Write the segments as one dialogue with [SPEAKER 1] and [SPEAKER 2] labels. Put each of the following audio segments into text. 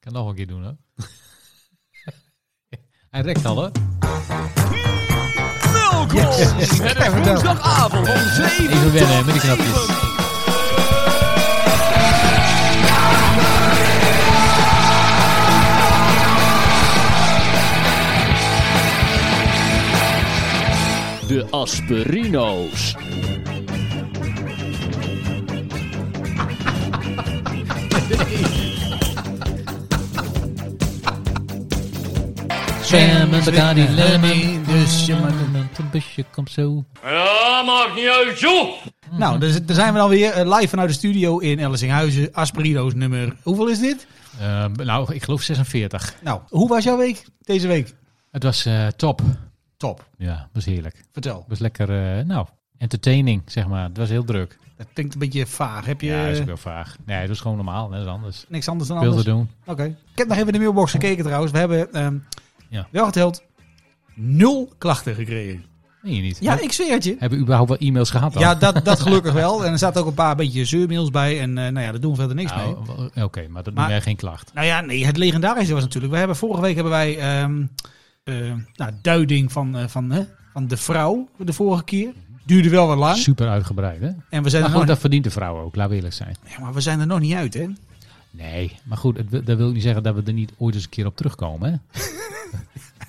[SPEAKER 1] kan nog een keer doen, hè? Hij rekt al, hè?
[SPEAKER 2] Welkom! Het is woensdagavond om 7
[SPEAKER 1] Even wennen met die
[SPEAKER 2] tot
[SPEAKER 1] knapjes.
[SPEAKER 2] 7.
[SPEAKER 3] De Asperino's.
[SPEAKER 1] Sam en Bacardi Lemon. Dus een busje komt zo.
[SPEAKER 3] Ja, maakt niet uit, joh!
[SPEAKER 4] Nou, dus daar zijn we dan weer eh, live vanuit de studio in Ellesinghuizen. Asperido's nummer. Hoeveel is dit?
[SPEAKER 1] Eh, nou, ik geloof 46.
[SPEAKER 4] Nou, hoe was jouw week deze week?
[SPEAKER 1] Het was eh, top.
[SPEAKER 4] Top.
[SPEAKER 1] Ja, het was heerlijk. Het
[SPEAKER 4] Vertel.
[SPEAKER 1] was lekker, eh, nou, entertaining, zeg maar. Het was heel druk.
[SPEAKER 4] Dat klinkt een beetje vaag. Heb je
[SPEAKER 1] Ja, dat is
[SPEAKER 4] eh,
[SPEAKER 1] ook wel vaag. Nee, het was gewoon normaal. Dat is anders.
[SPEAKER 4] niks anders dan
[SPEAKER 1] Ik wilde
[SPEAKER 4] anders?
[SPEAKER 1] doen.
[SPEAKER 4] Oké. Ik heb nog even in de mailbox gekeken trouwens. We hebben ehm
[SPEAKER 1] Ja.
[SPEAKER 4] wel geteld nul klachten gekregen.
[SPEAKER 1] Nee, je niet.
[SPEAKER 4] Ja, ik zweer het je.
[SPEAKER 1] Hebben we überhaupt wel e-mails gehad dan?
[SPEAKER 4] Ja, dat, dat gelukkig wel. En er zaten ook een paar beetje zeurmails bij. En eh, nou ja, daar doen we verder niks mee.
[SPEAKER 1] Nou, w- Oké, maar dat
[SPEAKER 4] Maar-
[SPEAKER 1] noem jij geen klacht.
[SPEAKER 4] Nou ja, nee, het legendarische was natuurlijk. We hebben vorige week hebben wij ehm, eh, nou, duiding van, eh, van, hè, van de vrouw de vorige keer. Duurde wel wat lang.
[SPEAKER 1] Super uitgebreid, hè?
[SPEAKER 4] En we zijn,
[SPEAKER 1] Maar
[SPEAKER 4] er
[SPEAKER 1] goed,
[SPEAKER 4] nog,
[SPEAKER 1] dat verdient de vrouw ook, laten we eerlijk zijn.
[SPEAKER 4] ja, maar we zijn er nog niet uit, hè?
[SPEAKER 1] Nee, maar goed, het, wil- dat wil niet zeggen dat we er niet ooit eens een keer op terugkomen. Hè?
[SPEAKER 4] Het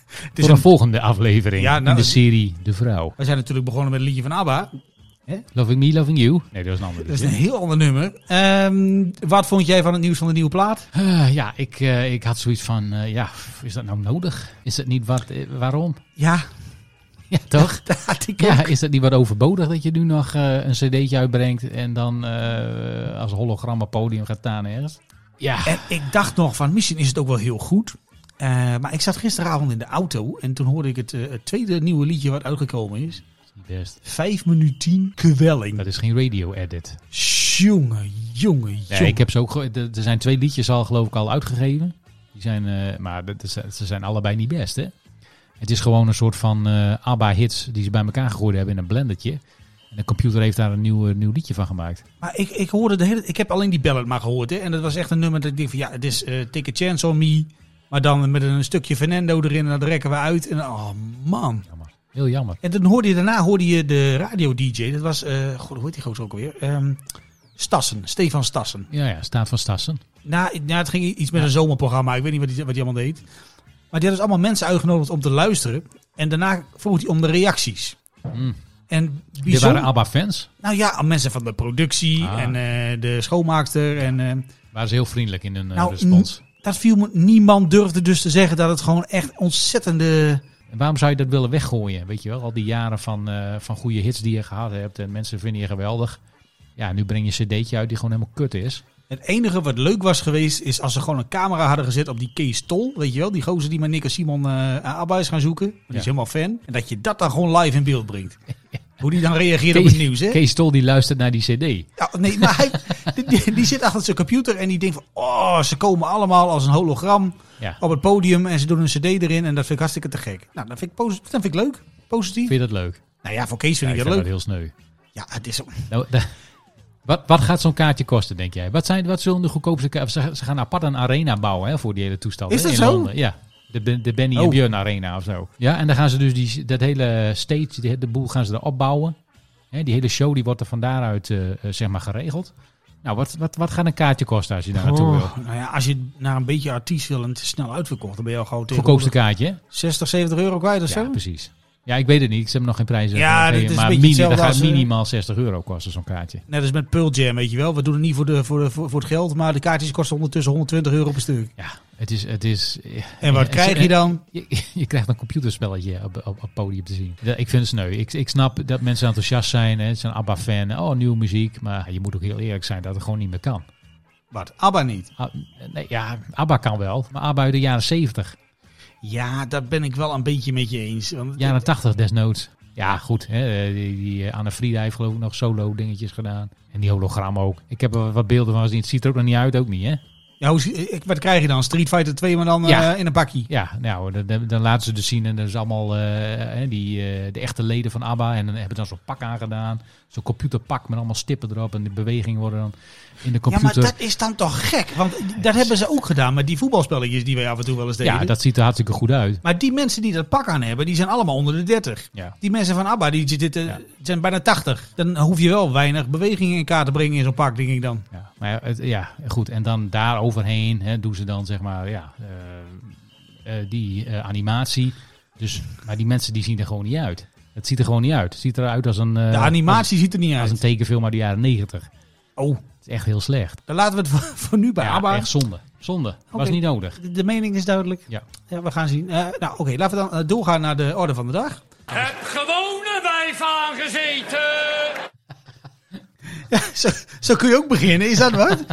[SPEAKER 4] is
[SPEAKER 1] Voor een
[SPEAKER 4] een-
[SPEAKER 1] volgende aflevering
[SPEAKER 4] Ja, nou,
[SPEAKER 1] in de
[SPEAKER 4] het-
[SPEAKER 1] serie De Vrouw.
[SPEAKER 4] we zijn natuurlijk begonnen met een liedje van ABBA.
[SPEAKER 1] Loving Me, Loving You. Nee, dat is een ander
[SPEAKER 4] Dat is
[SPEAKER 1] liedje.
[SPEAKER 4] een heel ander nummer. Ehm, wat vond jij van het nieuws van de nieuwe plaat?
[SPEAKER 1] Eh, ja, ik, eh, ik had zoiets van, eh, ja, f- is dat nou nodig? Is dat niet wat, eh, waarom?
[SPEAKER 4] Ja,
[SPEAKER 1] Ja, toch?
[SPEAKER 4] dat had ik
[SPEAKER 1] Ja, is dat niet wat overbodig dat je nu nog eh, een cd'tje uitbrengt en dan eh, als hologram op podium gaat staan ergens? Ja,
[SPEAKER 4] En ik dacht nog van, misschien is het ook wel heel goed. Eh, maar ik zat gisteravond in de auto en toen hoorde ik het, eh, het tweede nieuwe liedje wat uitgekomen is.
[SPEAKER 1] best.
[SPEAKER 4] 5 minuten 10 kwelling.
[SPEAKER 1] Dat is geen radio edit.
[SPEAKER 4] Jongen, jongen,
[SPEAKER 1] Nee,
[SPEAKER 4] jongen.
[SPEAKER 1] ik heb ze ook. ge- de- Er zijn twee liedjes al, geloof ik, al uitgegeven. Die zijn, eh, maar dat is- ze zijn allebei niet best, hè? Het is gewoon een soort van eh, ABBA-hits die ze bij elkaar gegooid hebben in een blendertje. En de computer heeft daar een nieuw, eh, nieuw liedje van gemaakt.
[SPEAKER 4] Maar ik, ik hoorde de hele... Ik heb alleen die ballad maar gehoord. Hè, en dat was echt een nummer dat ik dacht van... Ja, het is eh Take a Chance on Me. Maar dan met een stukje Fernando erin. En dat rekken we uit. En oh man.
[SPEAKER 1] Jammer. Heel jammer.
[SPEAKER 4] En dan hoorde je daarna hoorde je de radio-dj. Dat was... eh god, hoe heet die gozer ook alweer? Ehm, Stassen. Stefan Stassen.
[SPEAKER 1] Ja, ja, staat van Stassen.
[SPEAKER 4] Nou, ik- nou, het ging iets met een zomerprogramma. Ik weet niet wat hij wat die allemaal deed. Maar die had dus allemaal mensen uitgenodigd om te luisteren. En daarna vroeg hij om de reacties.
[SPEAKER 1] Mm.
[SPEAKER 4] En
[SPEAKER 1] Dit
[SPEAKER 4] bijzonder...
[SPEAKER 1] waren ABBA-fans.
[SPEAKER 4] Nou ja, mensen van de productie
[SPEAKER 1] Ah.
[SPEAKER 4] en eh, de schoonmaakster. En, eh,
[SPEAKER 1] Waren ze heel vriendelijk in hun eh,
[SPEAKER 4] Nou,
[SPEAKER 1] respons.
[SPEAKER 4] dat viel me... Niemand durfde dus te zeggen dat het gewoon echt ontzettende...
[SPEAKER 1] En waarom zou je dat willen weggooien? Weet je wel, al die jaren van, eh, van goede hits die je gehad hebt. En mensen vinden je geweldig. Ja, nu breng je een cd'tje uit die gewoon helemaal kut is.
[SPEAKER 4] Het enige wat leuk was geweest is als ze gewoon een camera hadden gezet op die Kees Tol. Weet je wel, die gozer die met Nick en Simon eh Abba is gaan zoeken. Die
[SPEAKER 1] Ja.
[SPEAKER 4] is helemaal fan. En dat je dat dan gewoon live in beeld brengt. Hoe die dan reageert op het nieuws, hè?
[SPEAKER 1] Kees Tol die luistert naar die cd.
[SPEAKER 4] Ja, nee, maar hij, die- die, die zit achter zijn computer en die denkt van... Oh, ze komen allemaal als een hologram
[SPEAKER 1] Ja.
[SPEAKER 4] op het podium en ze doen een cd erin. En dat vind ik hartstikke te gek. Nou, dat vind ik, posi- dat vind ik leuk. Positief.
[SPEAKER 1] Vind je dat leuk?
[SPEAKER 4] Nou ja, voor Kees vind
[SPEAKER 1] ik
[SPEAKER 4] ik
[SPEAKER 1] vind
[SPEAKER 4] dat
[SPEAKER 1] dat
[SPEAKER 4] leuk.
[SPEAKER 1] heel sneu.
[SPEAKER 4] Ja, het is...
[SPEAKER 1] Nou, da- wat, wat gaat zo'n kaartje kosten, denk jij? Wat, zijn, wat zullen de goedkoopste kaarten... Ze, ze gaan apart een arena bouwen hè, voor die hele toestand. hè,
[SPEAKER 4] Is dat
[SPEAKER 1] in
[SPEAKER 4] zo?
[SPEAKER 1] Londen. Ja. De, Ben- de Benny en
[SPEAKER 4] Oh.
[SPEAKER 1] Björn Arena of zo. Ja, en dan gaan ze dus die, dat hele stage, die, de boel gaan ze erop bouwen. Hè, die hele show die wordt er van daaruit eh, eh, zeg maar geregeld. Nou, wat, wat, wat gaat een kaartje kosten als je daar naartoe wil?
[SPEAKER 4] Nou ja, als je naar een beetje artiest wil en het is snel uitverkocht, dan ben je al gauw
[SPEAKER 1] Goedkoopste
[SPEAKER 4] tegen
[SPEAKER 1] kaartje, hè?
[SPEAKER 4] 60, 70 euro kwijt of
[SPEAKER 1] Ja,
[SPEAKER 4] zo.
[SPEAKER 1] precies. Ja, ik weet het niet. Ik heb nog geen prijzen.
[SPEAKER 4] Ja,
[SPEAKER 1] gegeven,
[SPEAKER 4] dit is een
[SPEAKER 1] maar
[SPEAKER 4] beetje
[SPEAKER 1] mini- dat
[SPEAKER 4] hetzelfde
[SPEAKER 1] gaat
[SPEAKER 4] als, eh,
[SPEAKER 1] minimaal 60 euro kosten, zo'n kaartje.
[SPEAKER 4] Net als met Pearl Jam, weet je wel. We doen het niet voor, de, voor, de, voor voor het geld, maar de kaartjes kosten ondertussen 120 euro per stuk.
[SPEAKER 1] Ja, het is... Het is
[SPEAKER 4] En wat
[SPEAKER 1] eh,
[SPEAKER 4] krijg
[SPEAKER 1] eh,
[SPEAKER 4] je dan?
[SPEAKER 1] Je, je krijgt een computerspelletje op, op, op podium te zien. Ja, Ik vind het sneu. Ik, ik snap dat mensen enthousiast zijn. Hè. Ze zijn ABBA-fan. Oh, nieuwe muziek. Maar je moet ook heel eerlijk zijn dat het gewoon niet meer kan.
[SPEAKER 4] Wat? ABBA niet.
[SPEAKER 1] Ah, nee, ja, ABBA kan wel. Maar ABBA uit de jaren 70.
[SPEAKER 4] Ja, dat ben ik wel een beetje met je eens. Want
[SPEAKER 1] Jaren 80 desnoods. Ja, goed. Hè. eh, Die, die eh, Anne Frieda heeft geloof ik nog solo dingetjes gedaan. En die hologram ook. Ik heb er wat beelden van gezien. Het ziet er ook nog niet uit. Ook niet, hè?
[SPEAKER 4] Ja, hoe, is- ik, wat krijg je dan? Street Fighter 2, maar dan eh,
[SPEAKER 1] Ja.
[SPEAKER 4] in een bakkie.
[SPEAKER 1] Ja, nou, dan- dan, dan laten ze dus zien. En dat is allemaal eh, hè, die, eh, de echte leden van ABBA. En dan hebben ze dan zo'n pak aangedaan. Zo'n computerpak met allemaal stippen erop. En de bewegingen worden dan in de
[SPEAKER 4] Ja, maar
[SPEAKER 1] computer.
[SPEAKER 4] dat is dan toch gek? Want dat hebben ze ook gedaan met die voetbalspelletjes die wij af en toe wel eens deden.
[SPEAKER 1] Ja, dat ziet er hartstikke goed uit.
[SPEAKER 4] Maar die mensen die dat pak aan hebben, die zijn allemaal onder de 30.
[SPEAKER 1] Ja.
[SPEAKER 4] Die mensen van ABBA, die zitten,
[SPEAKER 1] Ja.
[SPEAKER 4] zijn bijna 80. Dan hoef je wel weinig beweging in kaart te brengen in zo'n pak, denk ik dan.
[SPEAKER 1] Ja, maar ja, het, ja, goed. En dan daar overheen hè, doen ze dan zeg maar ja, eh, eh, die eh, animatie. Dus, maar die mensen die zien er gewoon niet uit. Het ziet er gewoon niet uit. Het ziet eruit als een, eh,
[SPEAKER 4] De
[SPEAKER 1] als,
[SPEAKER 4] animatie ziet er niet
[SPEAKER 1] als een
[SPEAKER 4] uit.
[SPEAKER 1] tekenfilm uit de jaren negentig.
[SPEAKER 4] Oh,
[SPEAKER 1] Het is echt heel slecht.
[SPEAKER 4] dan laten we het voor, voor nu bij
[SPEAKER 1] Ja,
[SPEAKER 4] ABBA.
[SPEAKER 1] echt zonde. Zonde. Was
[SPEAKER 4] Oké.
[SPEAKER 1] niet nodig.
[SPEAKER 4] De mening is duidelijk.
[SPEAKER 1] Ja.
[SPEAKER 4] Ja, we gaan zien. Eh, nou, oké, laten we dan eh, doorgaan naar de orde van de dag.
[SPEAKER 3] Heb gewone wijf aangezeten.
[SPEAKER 4] zo, zo kun je ook beginnen, is dat wat?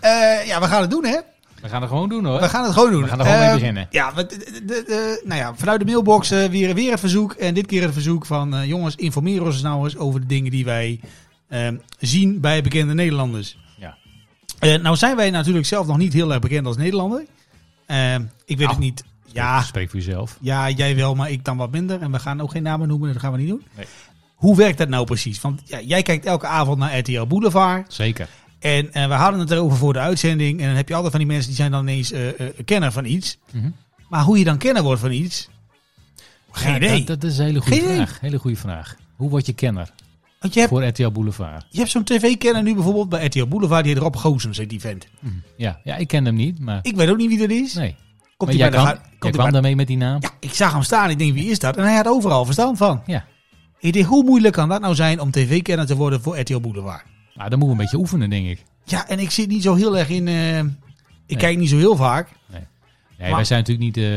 [SPEAKER 4] Eh, ja, we gaan het doen, hè?
[SPEAKER 1] We gaan het gewoon doen hoor.
[SPEAKER 4] We gaan het gewoon doen.
[SPEAKER 1] We gaan er gewoon mee
[SPEAKER 4] Eh,
[SPEAKER 1] beginnen.
[SPEAKER 4] Ja, want, eh, de, de- de- nou ja, vanuit de mailbox eh, weer, weer het verzoek. En dit keer het verzoek van... eh, jongens, informeer ons nou eens over de dingen die wij ehm, zien bij bekende Nederlanders.
[SPEAKER 1] Ja.
[SPEAKER 4] Eh, nou zijn wij natuurlijk zelf nog niet heel erg bekend als Nederlander. Ehm, ik weet
[SPEAKER 1] Nou.
[SPEAKER 4] het niet. Ja,
[SPEAKER 1] Spreek voor jezelf.
[SPEAKER 4] ja, jij wel, maar ik dan wat minder. En we gaan ook geen namen noemen, dat gaan we niet doen.
[SPEAKER 1] Nee.
[SPEAKER 4] Hoe werkt dat nou precies? Want ja, jij kijkt elke avond naar RTL Boulevard.
[SPEAKER 1] Zeker.
[SPEAKER 4] En eh, we hadden het erover voor de uitzending. En dan heb je altijd van die mensen die zijn dan ineens eh, eh, kenner van iets.
[SPEAKER 1] Mhm.
[SPEAKER 4] Maar hoe je dan kenner wordt van iets. Geen
[SPEAKER 1] Ja,
[SPEAKER 4] idee.
[SPEAKER 1] Dat, dat is een hele goede
[SPEAKER 4] Geen idee.
[SPEAKER 1] vraag. Hele goede vraag. Hoe word je kenner
[SPEAKER 4] Want je hebt,
[SPEAKER 1] voor RTL Boulevard?
[SPEAKER 4] je hebt zo'n tv-kenner nu bijvoorbeeld bij RTL Boulevard. Die heet Rob Goossens, heet die vent.
[SPEAKER 1] Ja, ja ik ken hem niet, maar
[SPEAKER 4] Ik weet ook niet wie dat is.
[SPEAKER 1] nee.
[SPEAKER 4] Komt
[SPEAKER 1] maar jij
[SPEAKER 4] hij bij de
[SPEAKER 1] kwam,
[SPEAKER 4] ga-
[SPEAKER 1] jij
[SPEAKER 4] komt hij
[SPEAKER 1] kwam
[SPEAKER 4] bij-
[SPEAKER 1] daarmee met die naam?
[SPEAKER 4] Ja, ik zag hem staan. Ik denk, wie is dat? En hij had overal verstand van.
[SPEAKER 1] Ja.
[SPEAKER 4] Ik denk, hoe moeilijk kan dat nou zijn om tv-kenner te worden voor RTL Boulevard?
[SPEAKER 1] Nou, dan moeten we een beetje oefenen, denk ik.
[SPEAKER 4] Ja, en ik zit niet zo heel erg in... eh, ik
[SPEAKER 1] Nee.
[SPEAKER 4] kijk niet zo heel vaak.
[SPEAKER 1] Nee,
[SPEAKER 4] Maar-
[SPEAKER 1] wij zijn natuurlijk niet, eh,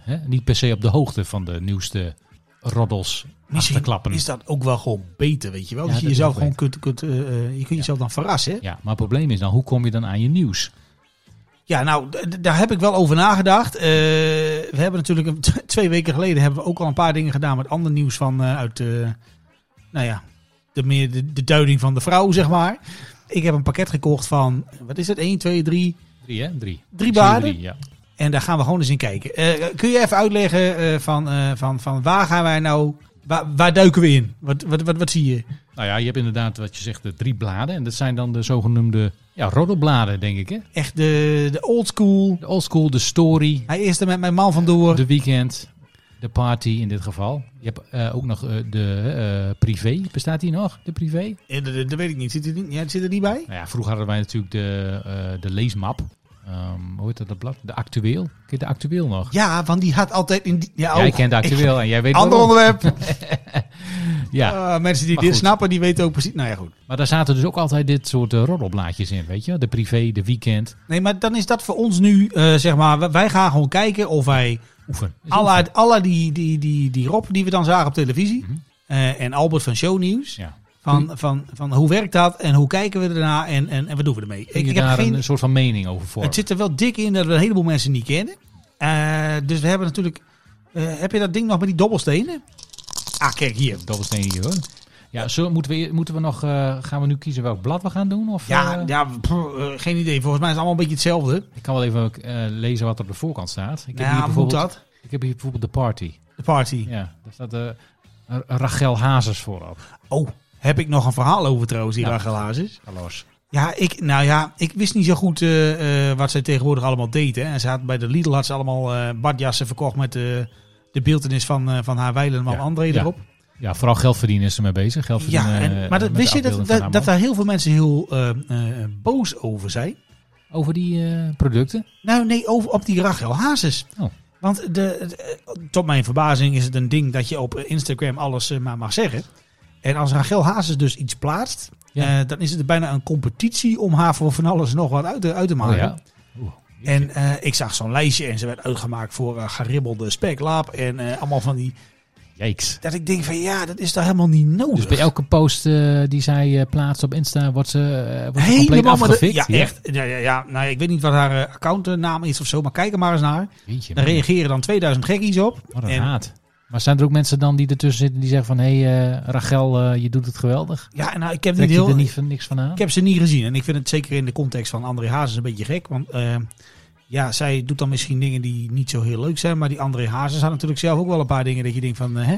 [SPEAKER 1] hè, niet per se op de hoogte van de nieuwste roddels
[SPEAKER 4] Misschien
[SPEAKER 1] achterklappen.
[SPEAKER 4] is dat ook wel gewoon beter, weet je wel.
[SPEAKER 1] Ja,
[SPEAKER 4] dat je
[SPEAKER 1] dat is
[SPEAKER 4] jezelf
[SPEAKER 1] ook
[SPEAKER 4] gewoon kunt, kunt, eh, eh, je kunt jezelf dan verrassen. hè?
[SPEAKER 1] Ja, maar het probleem is dan, hoe kom je dan aan je nieuws?
[SPEAKER 4] Ja, nou, d- d- daar heb ik wel over nagedacht. Eh, we hebben natuurlijk een- t- twee weken geleden hebben we ook al een paar dingen gedaan met ander nieuws van eh, uit, eh, nou ja, de, meer, de, de duiding van de vrouw, zeg maar. Ik heb een pakket gekocht van, wat is het, 1, 2, 3,
[SPEAKER 1] Drie, hè? Drie.
[SPEAKER 4] drie
[SPEAKER 1] Ik zie er
[SPEAKER 4] baden.
[SPEAKER 1] drie, ja.
[SPEAKER 4] En daar gaan we gewoon eens in kijken. Eh, kun je even uitleggen eh, van, eh, van, van waar gaan wij nou, waar, waar duiken we in? Wat, wat, wat, wat zie je?
[SPEAKER 1] Nou ja, je hebt inderdaad wat je zegt, de drie bladen. En dat zijn dan de zogenoemde ja, roddelbladen, denk ik. Hè?
[SPEAKER 4] Echt de, de old school.
[SPEAKER 1] De oldschool, de story,
[SPEAKER 4] Hij is er met mijn man vandoor.
[SPEAKER 1] De weekend, de party in dit geval. Je hebt eh, ook nog eh, de eh, privé. Bestaat die nog, de privé?
[SPEAKER 4] Eh, Dat dat weet ik niet. Zit er, niet- ja, zit er niet bij?
[SPEAKER 1] Nou ja, vroeger hadden wij natuurlijk de, eh, de leesmap. Ehm, hoe heet dat, dat blad? De actueel. Ken je de actueel nog?
[SPEAKER 4] Ja, want die had altijd in die. Ja, oh.
[SPEAKER 1] jij
[SPEAKER 4] ook.
[SPEAKER 1] kent de actueel en jij weet
[SPEAKER 4] Ander
[SPEAKER 1] waarom.
[SPEAKER 4] onderwerp.
[SPEAKER 1] Ja,
[SPEAKER 4] Eh, mensen die
[SPEAKER 1] Maar
[SPEAKER 4] dit
[SPEAKER 1] goed.
[SPEAKER 4] snappen, die weten ook precies. Nou ja, goed.
[SPEAKER 1] maar daar zaten dus ook altijd dit soort eh, roddelblaadjes in, weet je? De privé, de weekend,
[SPEAKER 4] Nee, maar dan is dat voor ons nu, eh, zeg maar, wij- wij gaan gewoon kijken of wij
[SPEAKER 1] oefen. Is
[SPEAKER 4] alle, alle die, die, die, die Rob die we dan zagen op televisie
[SPEAKER 1] Mhm.
[SPEAKER 4] eh, en Albert van Shownieuws,
[SPEAKER 1] oefen. Ja.
[SPEAKER 4] van, van, van hoe werkt dat en hoe kijken we ernaar en, en, en wat doen we ermee?
[SPEAKER 1] Kun je daar een soort van mening over vormen?
[SPEAKER 4] Het zit er wel dik in dat we een heleboel mensen niet kennen. Eh, dus we hebben natuurlijk. eh, heb je dat ding nog met die dobbelstenen? Ah, kijk hier.
[SPEAKER 1] Dobbelsteen hier, hoor. Ja, zo, moeten, we, moeten we nog, eh, gaan we nu kiezen welk blad we gaan doen? Of,
[SPEAKER 4] Ja,
[SPEAKER 1] eh?
[SPEAKER 4] ja pff, eh, geen idee. Volgens mij is het allemaal een beetje hetzelfde.
[SPEAKER 1] Ik kan wel even eh, lezen wat er op de voorkant staat. Ik heb, hier,
[SPEAKER 4] Ja, Nou, moet
[SPEAKER 1] bijvoorbeeld,
[SPEAKER 4] dat?
[SPEAKER 1] ik heb hier bijvoorbeeld de party.
[SPEAKER 4] De party.
[SPEAKER 1] Ja, daar staat eh, Ra- Rachel Hazes voorop.
[SPEAKER 4] Oh, heb ik nog een verhaal over trouwens, die
[SPEAKER 1] Ja.
[SPEAKER 4] Rachel Hazes.
[SPEAKER 1] Hallo's.
[SPEAKER 4] Ja, ik, nou ja, ik wist niet zo goed eh, eh, wat zij tegenwoordig allemaal deed. Hè. En ze had, bij de Lidl had ze allemaal eh, badjassen verkocht met eh, de beeldenis van, eh, van haar weilenman
[SPEAKER 1] Ja,
[SPEAKER 4] André
[SPEAKER 1] ja.
[SPEAKER 4] erop.
[SPEAKER 1] Ja, vooral geld verdienen is ze mee bezig. Geld
[SPEAKER 4] Ja,
[SPEAKER 1] verdienen,
[SPEAKER 4] en,
[SPEAKER 1] eh,
[SPEAKER 4] maar dat,
[SPEAKER 1] met
[SPEAKER 4] wist
[SPEAKER 1] de
[SPEAKER 4] je dat,
[SPEAKER 1] afbeelding van
[SPEAKER 4] dat,
[SPEAKER 1] haar
[SPEAKER 4] dat
[SPEAKER 1] man.
[SPEAKER 4] daar heel veel mensen heel eh, eh, boos over zijn?
[SPEAKER 1] Over die eh, producten?
[SPEAKER 4] Nou, nee, over, op die Rachel Hazes.
[SPEAKER 1] Oh.
[SPEAKER 4] Want de, de- tot mijn verbazing is het een ding dat je op Instagram alles eh, maar mag zeggen. En als Rachel Hazes dus iets plaatst,
[SPEAKER 1] Ja.
[SPEAKER 4] eh, dan is het bijna een competitie om haar voor van alles en nog wat uit te, uit te maken.
[SPEAKER 1] Oh ja.
[SPEAKER 4] En eh, ik zag zo'n lijstje en ze werd uitgemaakt voor eh, geribbelde speklaap en eh, allemaal van die...
[SPEAKER 1] Yikes.
[SPEAKER 4] Dat ik denk van ja, dat is toch helemaal niet nodig.
[SPEAKER 1] Dus bij elke post eh, die zij eh, plaatst op Insta wordt ze, eh, wordt ze compleet
[SPEAKER 4] Helemaal maar de-
[SPEAKER 1] afgefikt.
[SPEAKER 4] ja, echt. Ja, ja, ja. Nou, ik weet niet wat haar eh, accountnaam is of zo, maar kijk er maar eens naar.
[SPEAKER 1] Jeetje,
[SPEAKER 4] Daar
[SPEAKER 1] man.
[SPEAKER 4] reageren dan 2000 gekkies op.
[SPEAKER 1] wat een
[SPEAKER 4] en-
[SPEAKER 1] haat. Maar zijn er ook mensen dan die ertussen zitten die zeggen van... hé hey, eh, Rachel, eh, je doet het geweldig.
[SPEAKER 4] Ja, nou, ik heb
[SPEAKER 1] Trek
[SPEAKER 4] niet
[SPEAKER 1] je
[SPEAKER 4] heel...
[SPEAKER 1] er niet van, niks van aan?
[SPEAKER 4] Ik heb ze niet gezien. En ik vind het zeker in de context van André Hazes een beetje gek. Want eh, ja, zij doet dan misschien dingen die niet zo heel leuk zijn. Maar die André Hazes had natuurlijk zelf ook wel een paar dingen dat je denkt van... eh, hè?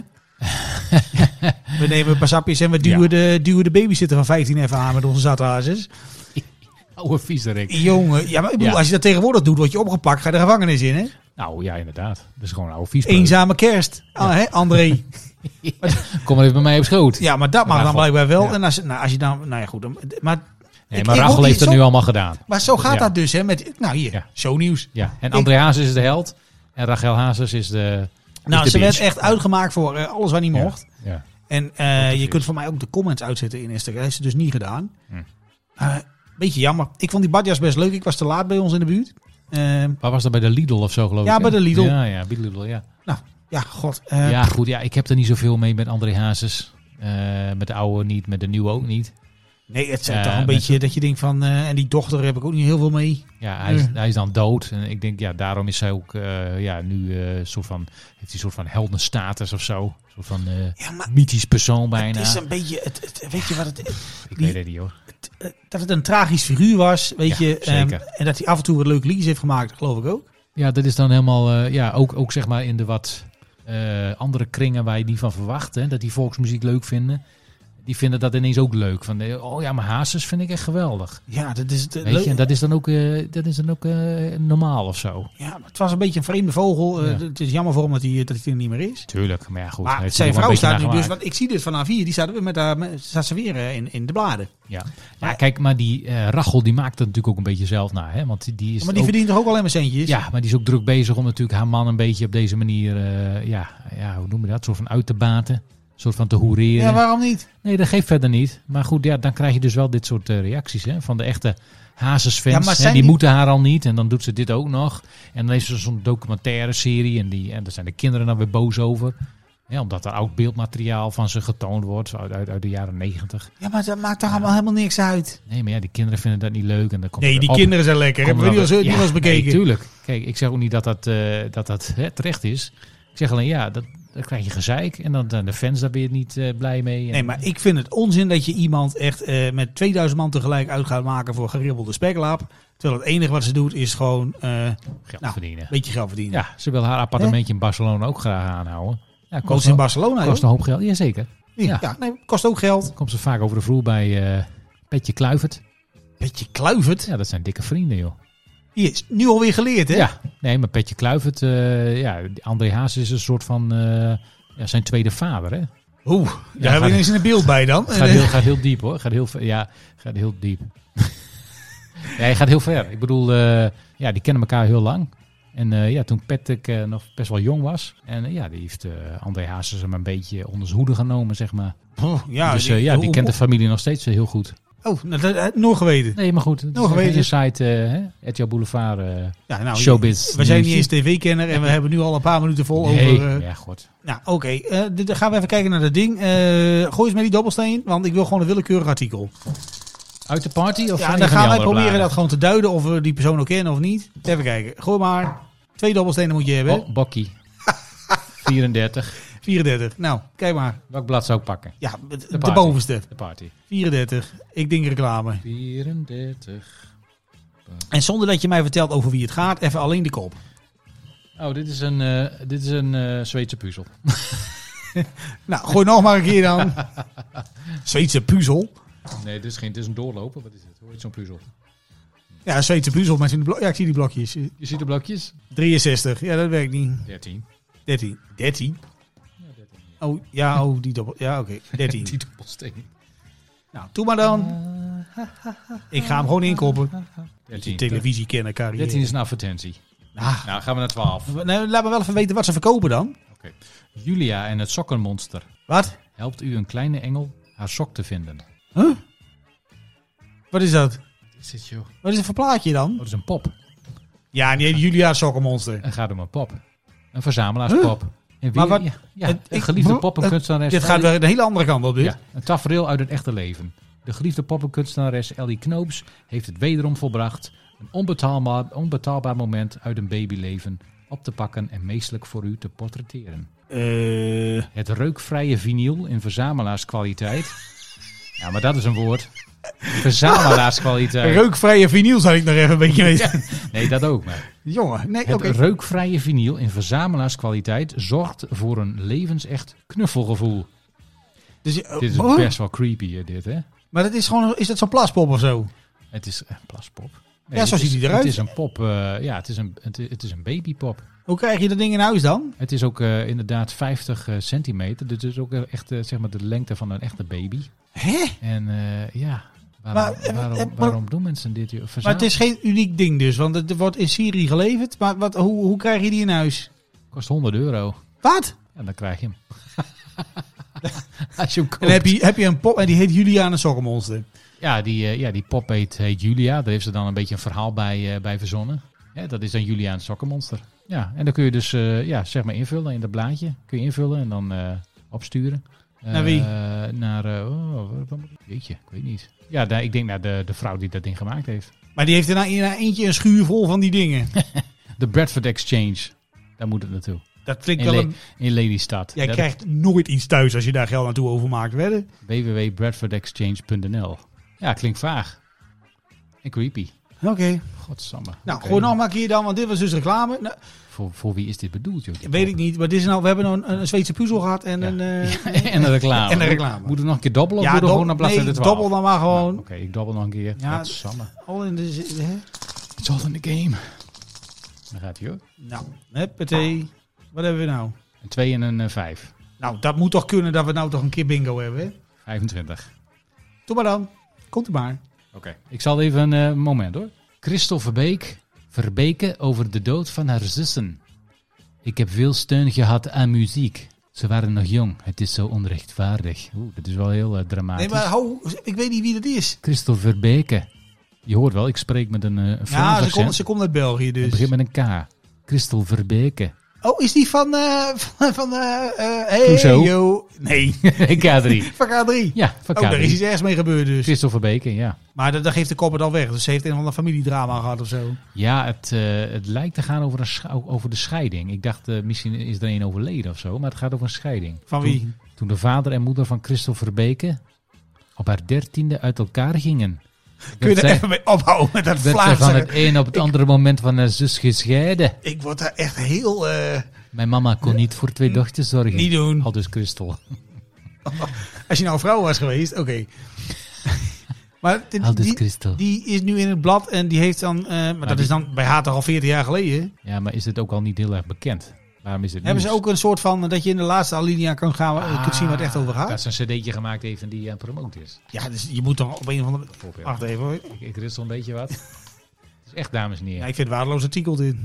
[SPEAKER 4] we nemen een paar sapjes en we duwen,
[SPEAKER 1] Ja.
[SPEAKER 4] de, duwen de babysitter van 15 even aan met onze zathazes.
[SPEAKER 1] Oude viezerik.
[SPEAKER 4] Jongen, ja, maar ik bedoel,
[SPEAKER 1] Ja.
[SPEAKER 4] als je dat tegenwoordig doet, word je opgepakt. Ga je de gevangenis in, hè?
[SPEAKER 1] Nou ja, inderdaad. Dat is gewoon een oude viespeuk.
[SPEAKER 4] Eenzame kerst. Ah, hè, André.
[SPEAKER 1] Kom maar even bij mij op schoot.
[SPEAKER 4] Ja, maar dat mag
[SPEAKER 1] Maar
[SPEAKER 4] dan
[SPEAKER 1] gewoon,
[SPEAKER 4] blijkbaar wel.
[SPEAKER 1] ja.
[SPEAKER 4] En als, nou, als je dan... Nou ja, goed. dan- Maar,
[SPEAKER 1] nee,
[SPEAKER 4] ik-
[SPEAKER 1] maar
[SPEAKER 4] ik
[SPEAKER 1] Rachel heeft
[SPEAKER 4] hoor die
[SPEAKER 1] het
[SPEAKER 4] zo-
[SPEAKER 1] nu allemaal gedaan.
[SPEAKER 4] maar zo gaat
[SPEAKER 1] Ja.
[SPEAKER 4] dat dus, hè? Met, nou, hier.
[SPEAKER 1] Ja.
[SPEAKER 4] Zo nieuws.
[SPEAKER 1] Ja. En André Hazes is de held. En Rachel Hazes is de...
[SPEAKER 4] Nou,
[SPEAKER 1] is de
[SPEAKER 4] ze werd
[SPEAKER 1] bitch.
[SPEAKER 4] echt uitgemaakt voor eh, alles waar niet
[SPEAKER 1] Ja.
[SPEAKER 4] mocht.
[SPEAKER 1] Ja.
[SPEAKER 4] En eh, je
[SPEAKER 1] precies.
[SPEAKER 4] kunt voor mij ook de comments uitzetten in Instagram. Dat heeft ze dus niet gedaan.
[SPEAKER 1] Hm.
[SPEAKER 4] Eh, beetje jammer. Ik vond die badjas best leuk. Ik was te laat bij ons in de buurt. Eh,
[SPEAKER 1] Waar was dat bij de Lidl of zo geloof
[SPEAKER 4] Ja,
[SPEAKER 1] ik? hè?
[SPEAKER 4] bij de Lidl.
[SPEAKER 1] Ja, ja, bij de Lidl, ja.
[SPEAKER 4] ja, god. eh,
[SPEAKER 1] ja, goed. Ja, ik heb er niet zoveel mee met André Hazes. Eh, met de oude niet, met de nieuwe ook niet.
[SPEAKER 4] Nee, het zijn
[SPEAKER 1] Ja,
[SPEAKER 4] toch een
[SPEAKER 1] mensen-
[SPEAKER 4] beetje dat je denkt van... eh, en die dochter heb ik ook niet heel veel mee.
[SPEAKER 1] Ja, hij is,
[SPEAKER 4] Ja.
[SPEAKER 1] hij is dan dood. En ik denk, ja, daarom is hij ook eh, ja, nu eh soort van, heeft hij een soort van heldenstatus of zo. Een soort van eh,
[SPEAKER 4] Ja, maar
[SPEAKER 1] mythisch persoon bijna.
[SPEAKER 4] het is een beetje... Het, het- weet je wat het...
[SPEAKER 1] Ik
[SPEAKER 4] die-
[SPEAKER 1] weet het niet hoor.
[SPEAKER 4] het- eh, dat het een tragisch figuur was, weet
[SPEAKER 1] Ja,
[SPEAKER 4] je. ehm,
[SPEAKER 1] zeker.
[SPEAKER 4] en dat hij af en toe wat leuke liedjes heeft gemaakt, geloof ik ook.
[SPEAKER 1] Ja, dat is dan helemaal, eh, ja, ook, ook zeg maar in de wat eh, andere kringen waar je niet van verwacht. Hè, dat die volksmuziek leuk vinden. Die vinden dat ineens ook leuk. Van, eh, oh ja, maar Hazes vind ik echt geweldig.
[SPEAKER 4] Ja, dat is het. eh,
[SPEAKER 1] Weet je,
[SPEAKER 4] leuk.
[SPEAKER 1] en dat is dan ook, eh, dat is dan ook eh, normaal of zo.
[SPEAKER 4] Ja, maar het was een beetje een vreemde vogel. Eh,
[SPEAKER 1] Ja.
[SPEAKER 4] Het is jammer voor hem dat hij, eh, dat hij er niet meer is.
[SPEAKER 1] Tuurlijk, maar ja, goed. hij
[SPEAKER 4] Maar
[SPEAKER 1] heeft
[SPEAKER 4] zijn
[SPEAKER 1] er wel
[SPEAKER 4] vrouw
[SPEAKER 1] een beetje
[SPEAKER 4] staat nu
[SPEAKER 1] naar
[SPEAKER 4] dus,
[SPEAKER 1] gemaakt.
[SPEAKER 4] want ik zie dit vanaf hier, die staat, weer met haar, met, staat ze weer eh, in, in de bladen.
[SPEAKER 1] Ja. ja, kijk, maar die eh, Rachel die maakt er natuurlijk ook een beetje zelf naar. Hè? Want die- die is
[SPEAKER 4] maar die
[SPEAKER 1] ook,
[SPEAKER 4] verdient toch ook alleen maar centjes?
[SPEAKER 1] ja, maar die is ook druk bezig om natuurlijk haar man een beetje op deze manier, eh, ja, ja, hoe noem je dat? Soort van uit te baten. Een soort van te hoereren.
[SPEAKER 4] Ja, waarom niet?
[SPEAKER 1] Nee, dat geeft verder niet. Maar goed, ja, dan krijg je dus wel dit soort eh, reacties hè? van de echte
[SPEAKER 4] Ja,
[SPEAKER 1] Hazes-fans.
[SPEAKER 4] maar
[SPEAKER 1] hè,
[SPEAKER 4] zijn
[SPEAKER 1] die,
[SPEAKER 4] die-
[SPEAKER 1] moeten haar al niet en dan doet ze dit ook nog. En dan is er zo'n documentaire serie en, die, en daar zijn de kinderen dan weer boos over. Ja, omdat er oud beeldmateriaal van ze getoond wordt uit, uit, uit de jaren negentig.
[SPEAKER 4] Ja, maar dat maakt toch allemaal helemaal niks uit?
[SPEAKER 1] Nee, maar ja, die kinderen vinden dat niet leuk. En dan komt
[SPEAKER 4] Nee, die
[SPEAKER 1] op-
[SPEAKER 4] kinderen zijn lekker.
[SPEAKER 1] komt
[SPEAKER 4] Hebben
[SPEAKER 1] er
[SPEAKER 4] we die al
[SPEAKER 1] wel-
[SPEAKER 4] zo- die
[SPEAKER 1] Ja,
[SPEAKER 4] wel eens bekeken?
[SPEAKER 1] Nee, tuurlijk. Kijk, ik zeg ook niet dat dat, eh, dat, dat hè, terecht is. Ik zeg alleen, ja, dat, dan krijg je gezeik. En dan zijn de fans daar weer niet eh, blij mee. En,
[SPEAKER 4] Nee, maar ik vind het onzin dat je iemand echt eh, met 2000 man tegelijk uit gaat maken voor geribbelde speklaap. Terwijl het enige wat ze doet is gewoon eh,
[SPEAKER 1] geld
[SPEAKER 4] nou,
[SPEAKER 1] verdienen.
[SPEAKER 4] een beetje geld verdienen.
[SPEAKER 1] Ja, ze wil haar appartementje in Barcelona ook graag aanhouden. Ja,
[SPEAKER 4] Kost
[SPEAKER 1] kost,
[SPEAKER 4] in
[SPEAKER 1] een,
[SPEAKER 4] Barcelona,
[SPEAKER 1] kost
[SPEAKER 4] joh.
[SPEAKER 1] een hoop geld. Jazeker.
[SPEAKER 4] Ja,
[SPEAKER 1] ja.
[SPEAKER 4] nee, kost ook geld.
[SPEAKER 1] Komt ze vaak over de vloer bij eh, Petje Kluivert.
[SPEAKER 4] Beetje kluivert.
[SPEAKER 1] Ja, dat zijn dikke vrienden, joh.
[SPEAKER 4] Hier is nu alweer geleerd, hè?
[SPEAKER 1] Ja, nee, maar Petje Kluivert, eh, ja, André Haas is een soort van eh, ja, zijn tweede vader, hè?
[SPEAKER 4] Oeh, daar hebben
[SPEAKER 1] gaat-
[SPEAKER 4] we ineens een beeld bij dan.
[SPEAKER 1] Gaat heel, gaat heel diep hoor. Gaat heel, ver- ja, gaat heel diep. ja, hij gaat heel ver. Ik bedoel, eh, ja, die kennen elkaar heel lang. En eh, ja, toen Patrick eh, nog best wel jong was. En eh, ja, die heeft eh, André Hazes hem een beetje onder zijn hoede genomen, zeg maar.
[SPEAKER 4] Oeh, ja,
[SPEAKER 1] dus eh, ja, die kent de familie nog steeds eh, heel goed.
[SPEAKER 4] Oh, nou, dat had ik nooit geweten.
[SPEAKER 1] Nee, maar goed. Het
[SPEAKER 4] Nog
[SPEAKER 1] is
[SPEAKER 4] weten.
[SPEAKER 1] een site, eh, hè? RTL Boulevard, eh,
[SPEAKER 4] Ja, nou,
[SPEAKER 1] Showbiz.
[SPEAKER 4] We zijn niet eens
[SPEAKER 1] nieuwtje.
[SPEAKER 4] tv-kenner en we hebben nu al een paar minuten vol
[SPEAKER 1] Nee,
[SPEAKER 4] over... eh,
[SPEAKER 1] ja, god.
[SPEAKER 4] Nou, oké. Eh, dit- dan gaan we even kijken naar dat ding. Eh, gooi eens met die dobbelsteen, want ik wil gewoon een willekeurig artikel.
[SPEAKER 1] Uit de party? Of
[SPEAKER 4] Ja,
[SPEAKER 1] van
[SPEAKER 4] dan
[SPEAKER 1] een van die
[SPEAKER 4] gaan wij
[SPEAKER 1] andere
[SPEAKER 4] proberen
[SPEAKER 1] bladen?
[SPEAKER 4] dat gewoon te duiden of we die persoon ook kennen of niet. Even kijken. Gooi maar. Twee dobbelstenen moet je hebben.
[SPEAKER 1] Bo- Bokkie. 34.
[SPEAKER 4] 34. Nou, kijk maar.
[SPEAKER 1] Welk blad zou ik pakken?
[SPEAKER 4] Ja, de, de
[SPEAKER 1] party.
[SPEAKER 4] bovenste.
[SPEAKER 1] De party.
[SPEAKER 4] 34. Ik denk reclame.
[SPEAKER 1] 34.
[SPEAKER 4] En zonder dat je mij vertelt over wie het gaat, even alleen de kop.
[SPEAKER 1] Oh, dit is een, eh, dit is een eh, Zweedse puzzel.
[SPEAKER 4] Nou, gooi nog maar een keer dan. Zweedse puzzel.
[SPEAKER 1] Nee, dit is geen. Dit is een doorloper. Wat is dit? Hoe heet zo'n puzzel?
[SPEAKER 4] Ja, Zweedse puzzel met zijn blok. Ja, ik zie die blokjes. Eh,
[SPEAKER 1] Je ziet de blokjes.
[SPEAKER 4] 63. Ja, dat werkt niet.
[SPEAKER 1] 13.
[SPEAKER 4] 13. 13? Oh, ja, oh, die dobbel. Ja, oké. 13.
[SPEAKER 1] Die dobbelsteen.
[SPEAKER 4] Nou, doe maar dan. Ik ga hem gewoon inkoppen.
[SPEAKER 1] 13.
[SPEAKER 4] Televisie kennen, carrière.
[SPEAKER 1] 13 is een advertentie.
[SPEAKER 4] Ah,
[SPEAKER 1] Nou, gaan we naar 12.
[SPEAKER 4] nou, laat me wel even weten wat ze verkopen dan.
[SPEAKER 1] Julia en het sokkenmonster.
[SPEAKER 4] Wat?
[SPEAKER 1] Helpt u een kleine engel haar sok te vinden. Wat
[SPEAKER 4] Huh? Wat is dat?
[SPEAKER 1] is dit, joh? Oh,
[SPEAKER 4] Wat is het voor plaatje dan?
[SPEAKER 1] dat is een pop.
[SPEAKER 4] Ja, die heet Julia Sokkenmonster.
[SPEAKER 1] Het gaat om een pop. Een verzamelaarspop. En weer-
[SPEAKER 4] Maar wat-
[SPEAKER 1] ja, ja,
[SPEAKER 4] het-
[SPEAKER 1] een
[SPEAKER 4] ik-
[SPEAKER 1] geliefde
[SPEAKER 4] bro-
[SPEAKER 1] pop en
[SPEAKER 4] het-
[SPEAKER 1] kunstenares.
[SPEAKER 4] Dit gaat weer een hele andere kant op, dit.
[SPEAKER 1] Ja, een tafereel uit het echte leven. De geliefde poppenkunstenares Ellie Knoops heeft het wederom volbracht. Een onbetaalbaar, onbetaalbaar moment uit een babyleven op te pakken en meestelijk voor u te portretteren.
[SPEAKER 4] Eh,
[SPEAKER 1] Het reukvrije vinyl in verzamelaarskwaliteit. ja, maar dat is een woord. Verzamelaarskwaliteit.
[SPEAKER 4] reukvrije vinyl zou ik nog even een beetje weten.
[SPEAKER 1] Nee, dat ook. Maar.
[SPEAKER 4] Jongen, nee, oké.
[SPEAKER 1] Het reukvrije vinyl in verzamelaarskwaliteit zorgt voor een levensecht knuffelgevoel.
[SPEAKER 4] Dus, eh,
[SPEAKER 1] Dit is
[SPEAKER 4] oh,
[SPEAKER 1] best wel creepy, hè, dit hè?
[SPEAKER 4] Maar dat is gewoon, is dat zo'n plaspop of zo?
[SPEAKER 1] Het is een plaspop.
[SPEAKER 4] Ja, zo
[SPEAKER 1] het
[SPEAKER 4] ziet
[SPEAKER 1] is-
[SPEAKER 4] hij eruit.
[SPEAKER 1] Het is een pop, eh, ja, het is een, het, het is een babypop.
[SPEAKER 4] Hoe krijg je dat ding in huis dan?
[SPEAKER 1] Het is ook eh, inderdaad 50 eh, centimeter. Dus het is ook echt eh, zeg maar de lengte van een echte baby.
[SPEAKER 4] Hè?
[SPEAKER 1] En eh, ja, waarom,
[SPEAKER 4] Maar, eh,
[SPEAKER 1] waarom,
[SPEAKER 4] eh, maar-
[SPEAKER 1] waarom doen mensen dit? joh?
[SPEAKER 4] Maar
[SPEAKER 1] Verzamelen
[SPEAKER 4] het is geen uniek ding dus, want het wordt in Syrië geleverd. Maar wat, hoe, hoe krijg je die in huis?
[SPEAKER 1] kost 100 euro.
[SPEAKER 4] Wat?
[SPEAKER 1] En dan krijg je hem. Als je hem
[SPEAKER 4] En
[SPEAKER 1] koopt.
[SPEAKER 4] heb je, heb je een pop en die heet Juliane Sokkenmonster.
[SPEAKER 1] Ja, die, eh, ja, die pop heet, heet Julia. Daar heeft ze dan een beetje een verhaal bij, eh, bij verzonnen. Ja, dat is dan Julia een sokkenmonster. Ja, en dan kun je dus eh, ja, zeg maar invullen in dat blaadje. Kun je invullen en dan eh, opsturen. Eh,
[SPEAKER 4] Naar wie?
[SPEAKER 1] naar, eh, oh, wat- wat- jeetje, ik weet niet. Ja, daar, ik denk naar de, de vrouw die dat ding gemaakt heeft.
[SPEAKER 4] Maar die heeft er nou in haar eentje een schuur vol van die dingen.
[SPEAKER 1] De Bradford Exchange. Daar moet het naartoe.
[SPEAKER 4] Dat klinkt
[SPEAKER 1] In,
[SPEAKER 4] wel
[SPEAKER 1] Le-
[SPEAKER 4] een...
[SPEAKER 1] in Lelystad.
[SPEAKER 4] Jij
[SPEAKER 1] Dat-
[SPEAKER 4] krijgt nooit iets thuis als je daar geld naartoe overmaakt, wedden?
[SPEAKER 1] www.bradfordexchange.nl. Ja, klinkt vaag. En creepy.
[SPEAKER 4] Oké.
[SPEAKER 1] Godsamme.
[SPEAKER 4] Nou,
[SPEAKER 1] Oké.
[SPEAKER 4] gooi nog maar een keer dan, want dit was dus reclame. Nou,
[SPEAKER 1] Voor, voor wie is dit bedoeld, joh? die
[SPEAKER 4] weet
[SPEAKER 1] pop?
[SPEAKER 4] ik niet, maar dit is nou, we hebben nou een, een Zweedse puzzel gehad en
[SPEAKER 1] Ja.
[SPEAKER 4] een... eh,
[SPEAKER 1] en een reclame.
[SPEAKER 4] En een reclame.
[SPEAKER 1] Moeten we nog een keer dobbelen of
[SPEAKER 4] ja,
[SPEAKER 1] moeten we gewoon
[SPEAKER 4] dob-
[SPEAKER 1] naar bladzijde
[SPEAKER 4] nee,
[SPEAKER 1] 12?
[SPEAKER 4] dobbel dan maar
[SPEAKER 1] Nou,
[SPEAKER 4] gewoon.
[SPEAKER 1] Oké, ik dobbel nog een keer.
[SPEAKER 4] Ja.
[SPEAKER 1] Godsamme.
[SPEAKER 4] Al in de... zi- hè?
[SPEAKER 1] It's all in the game. Dan gaat hij hoor.
[SPEAKER 4] Nou, huppatee. Wat hebben we nou?
[SPEAKER 1] Een 2 en een eh, 5.
[SPEAKER 4] Nou, dat moet toch kunnen dat we nou toch een keer bingo hebben, hè?
[SPEAKER 1] 25.
[SPEAKER 4] Doe maar dan. Komt u maar.
[SPEAKER 1] Oké. Ik zal even een eh, moment hoor. Christel Verbeek. Verbeke over de dood van haar zussen. Ik heb veel steun gehad aan muziek. Ze waren nog jong. Het is zo onrechtvaardig. Oeh, dat is wel heel eh, dramatisch.
[SPEAKER 4] Nee, maar hou, ik weet niet wie dat is.
[SPEAKER 1] Christel Verbeke. Je hoort wel, ik spreek met een eh Frans
[SPEAKER 4] Ja, ze
[SPEAKER 1] accent.
[SPEAKER 4] komt ze komt uit België
[SPEAKER 1] Het
[SPEAKER 4] dus.
[SPEAKER 1] begint met een K. Christel Verbeke.
[SPEAKER 4] Oh, is die van... eh van, van eh eh, hey,
[SPEAKER 1] Hoezo?
[SPEAKER 4] yo. Nee,
[SPEAKER 1] K3.
[SPEAKER 4] van K3.
[SPEAKER 1] Ja, van K3.
[SPEAKER 4] Oh, daar is iets ergs mee gebeurd dus.
[SPEAKER 1] Christel Verbeke, ja.
[SPEAKER 4] Maar dat, dat geeft de kop het al weg. Dus ze heeft een of ander familiedrama gehad of zo.
[SPEAKER 1] Ja, het, eh, het lijkt te gaan over, een sch- over de scheiding. Ik dacht, eh, misschien is er een overleden of zo, maar het gaat over een scheiding.
[SPEAKER 4] Van
[SPEAKER 1] Toen-
[SPEAKER 4] wie?
[SPEAKER 1] Toen de vader en moeder van Christel Verbeke op haar dertiende uit elkaar gingen.
[SPEAKER 4] Kun je
[SPEAKER 1] werd
[SPEAKER 4] er
[SPEAKER 1] zij-
[SPEAKER 4] even mee ophouden met dat
[SPEAKER 1] werd zij van
[SPEAKER 4] vlaagzeren?
[SPEAKER 1] het een op het andere moment van haar zus gescheiden.
[SPEAKER 4] Ik word daar echt heel... eh,
[SPEAKER 1] Mijn mama kon niet voor twee dochters zorgen.
[SPEAKER 4] niet doen.
[SPEAKER 1] Al dus Christel.
[SPEAKER 4] Als je nou vrouw was geweest, oké. maar die-
[SPEAKER 1] Al dus
[SPEAKER 4] die,
[SPEAKER 1] Christel.
[SPEAKER 4] die is nu in het blad en die heeft dan... eh, maar dat
[SPEAKER 1] die-
[SPEAKER 4] is dan bij haar toch al 40 jaar geleden.
[SPEAKER 1] Ja, maar is dit ook al niet heel erg bekend? Waarom is het
[SPEAKER 4] Hebben ze
[SPEAKER 1] nieuws?
[SPEAKER 4] ook een soort van... eh, dat je in de laatste alinea kan gaan, eh,
[SPEAKER 1] Ah,
[SPEAKER 4] Oh, kunt zien waar het echt over gaat?
[SPEAKER 1] Dat ze een cd'tje gemaakt heeft en die aan promoot is.
[SPEAKER 4] Ja, dus je moet dan op een of andere...
[SPEAKER 1] Bijvoorbeeld.
[SPEAKER 4] Wacht even hoor.
[SPEAKER 1] Ik, ik ristel een beetje wat. Het is echt, dames en
[SPEAKER 4] Ja,
[SPEAKER 1] heren.
[SPEAKER 4] ik vind het waardeloos artikel dit.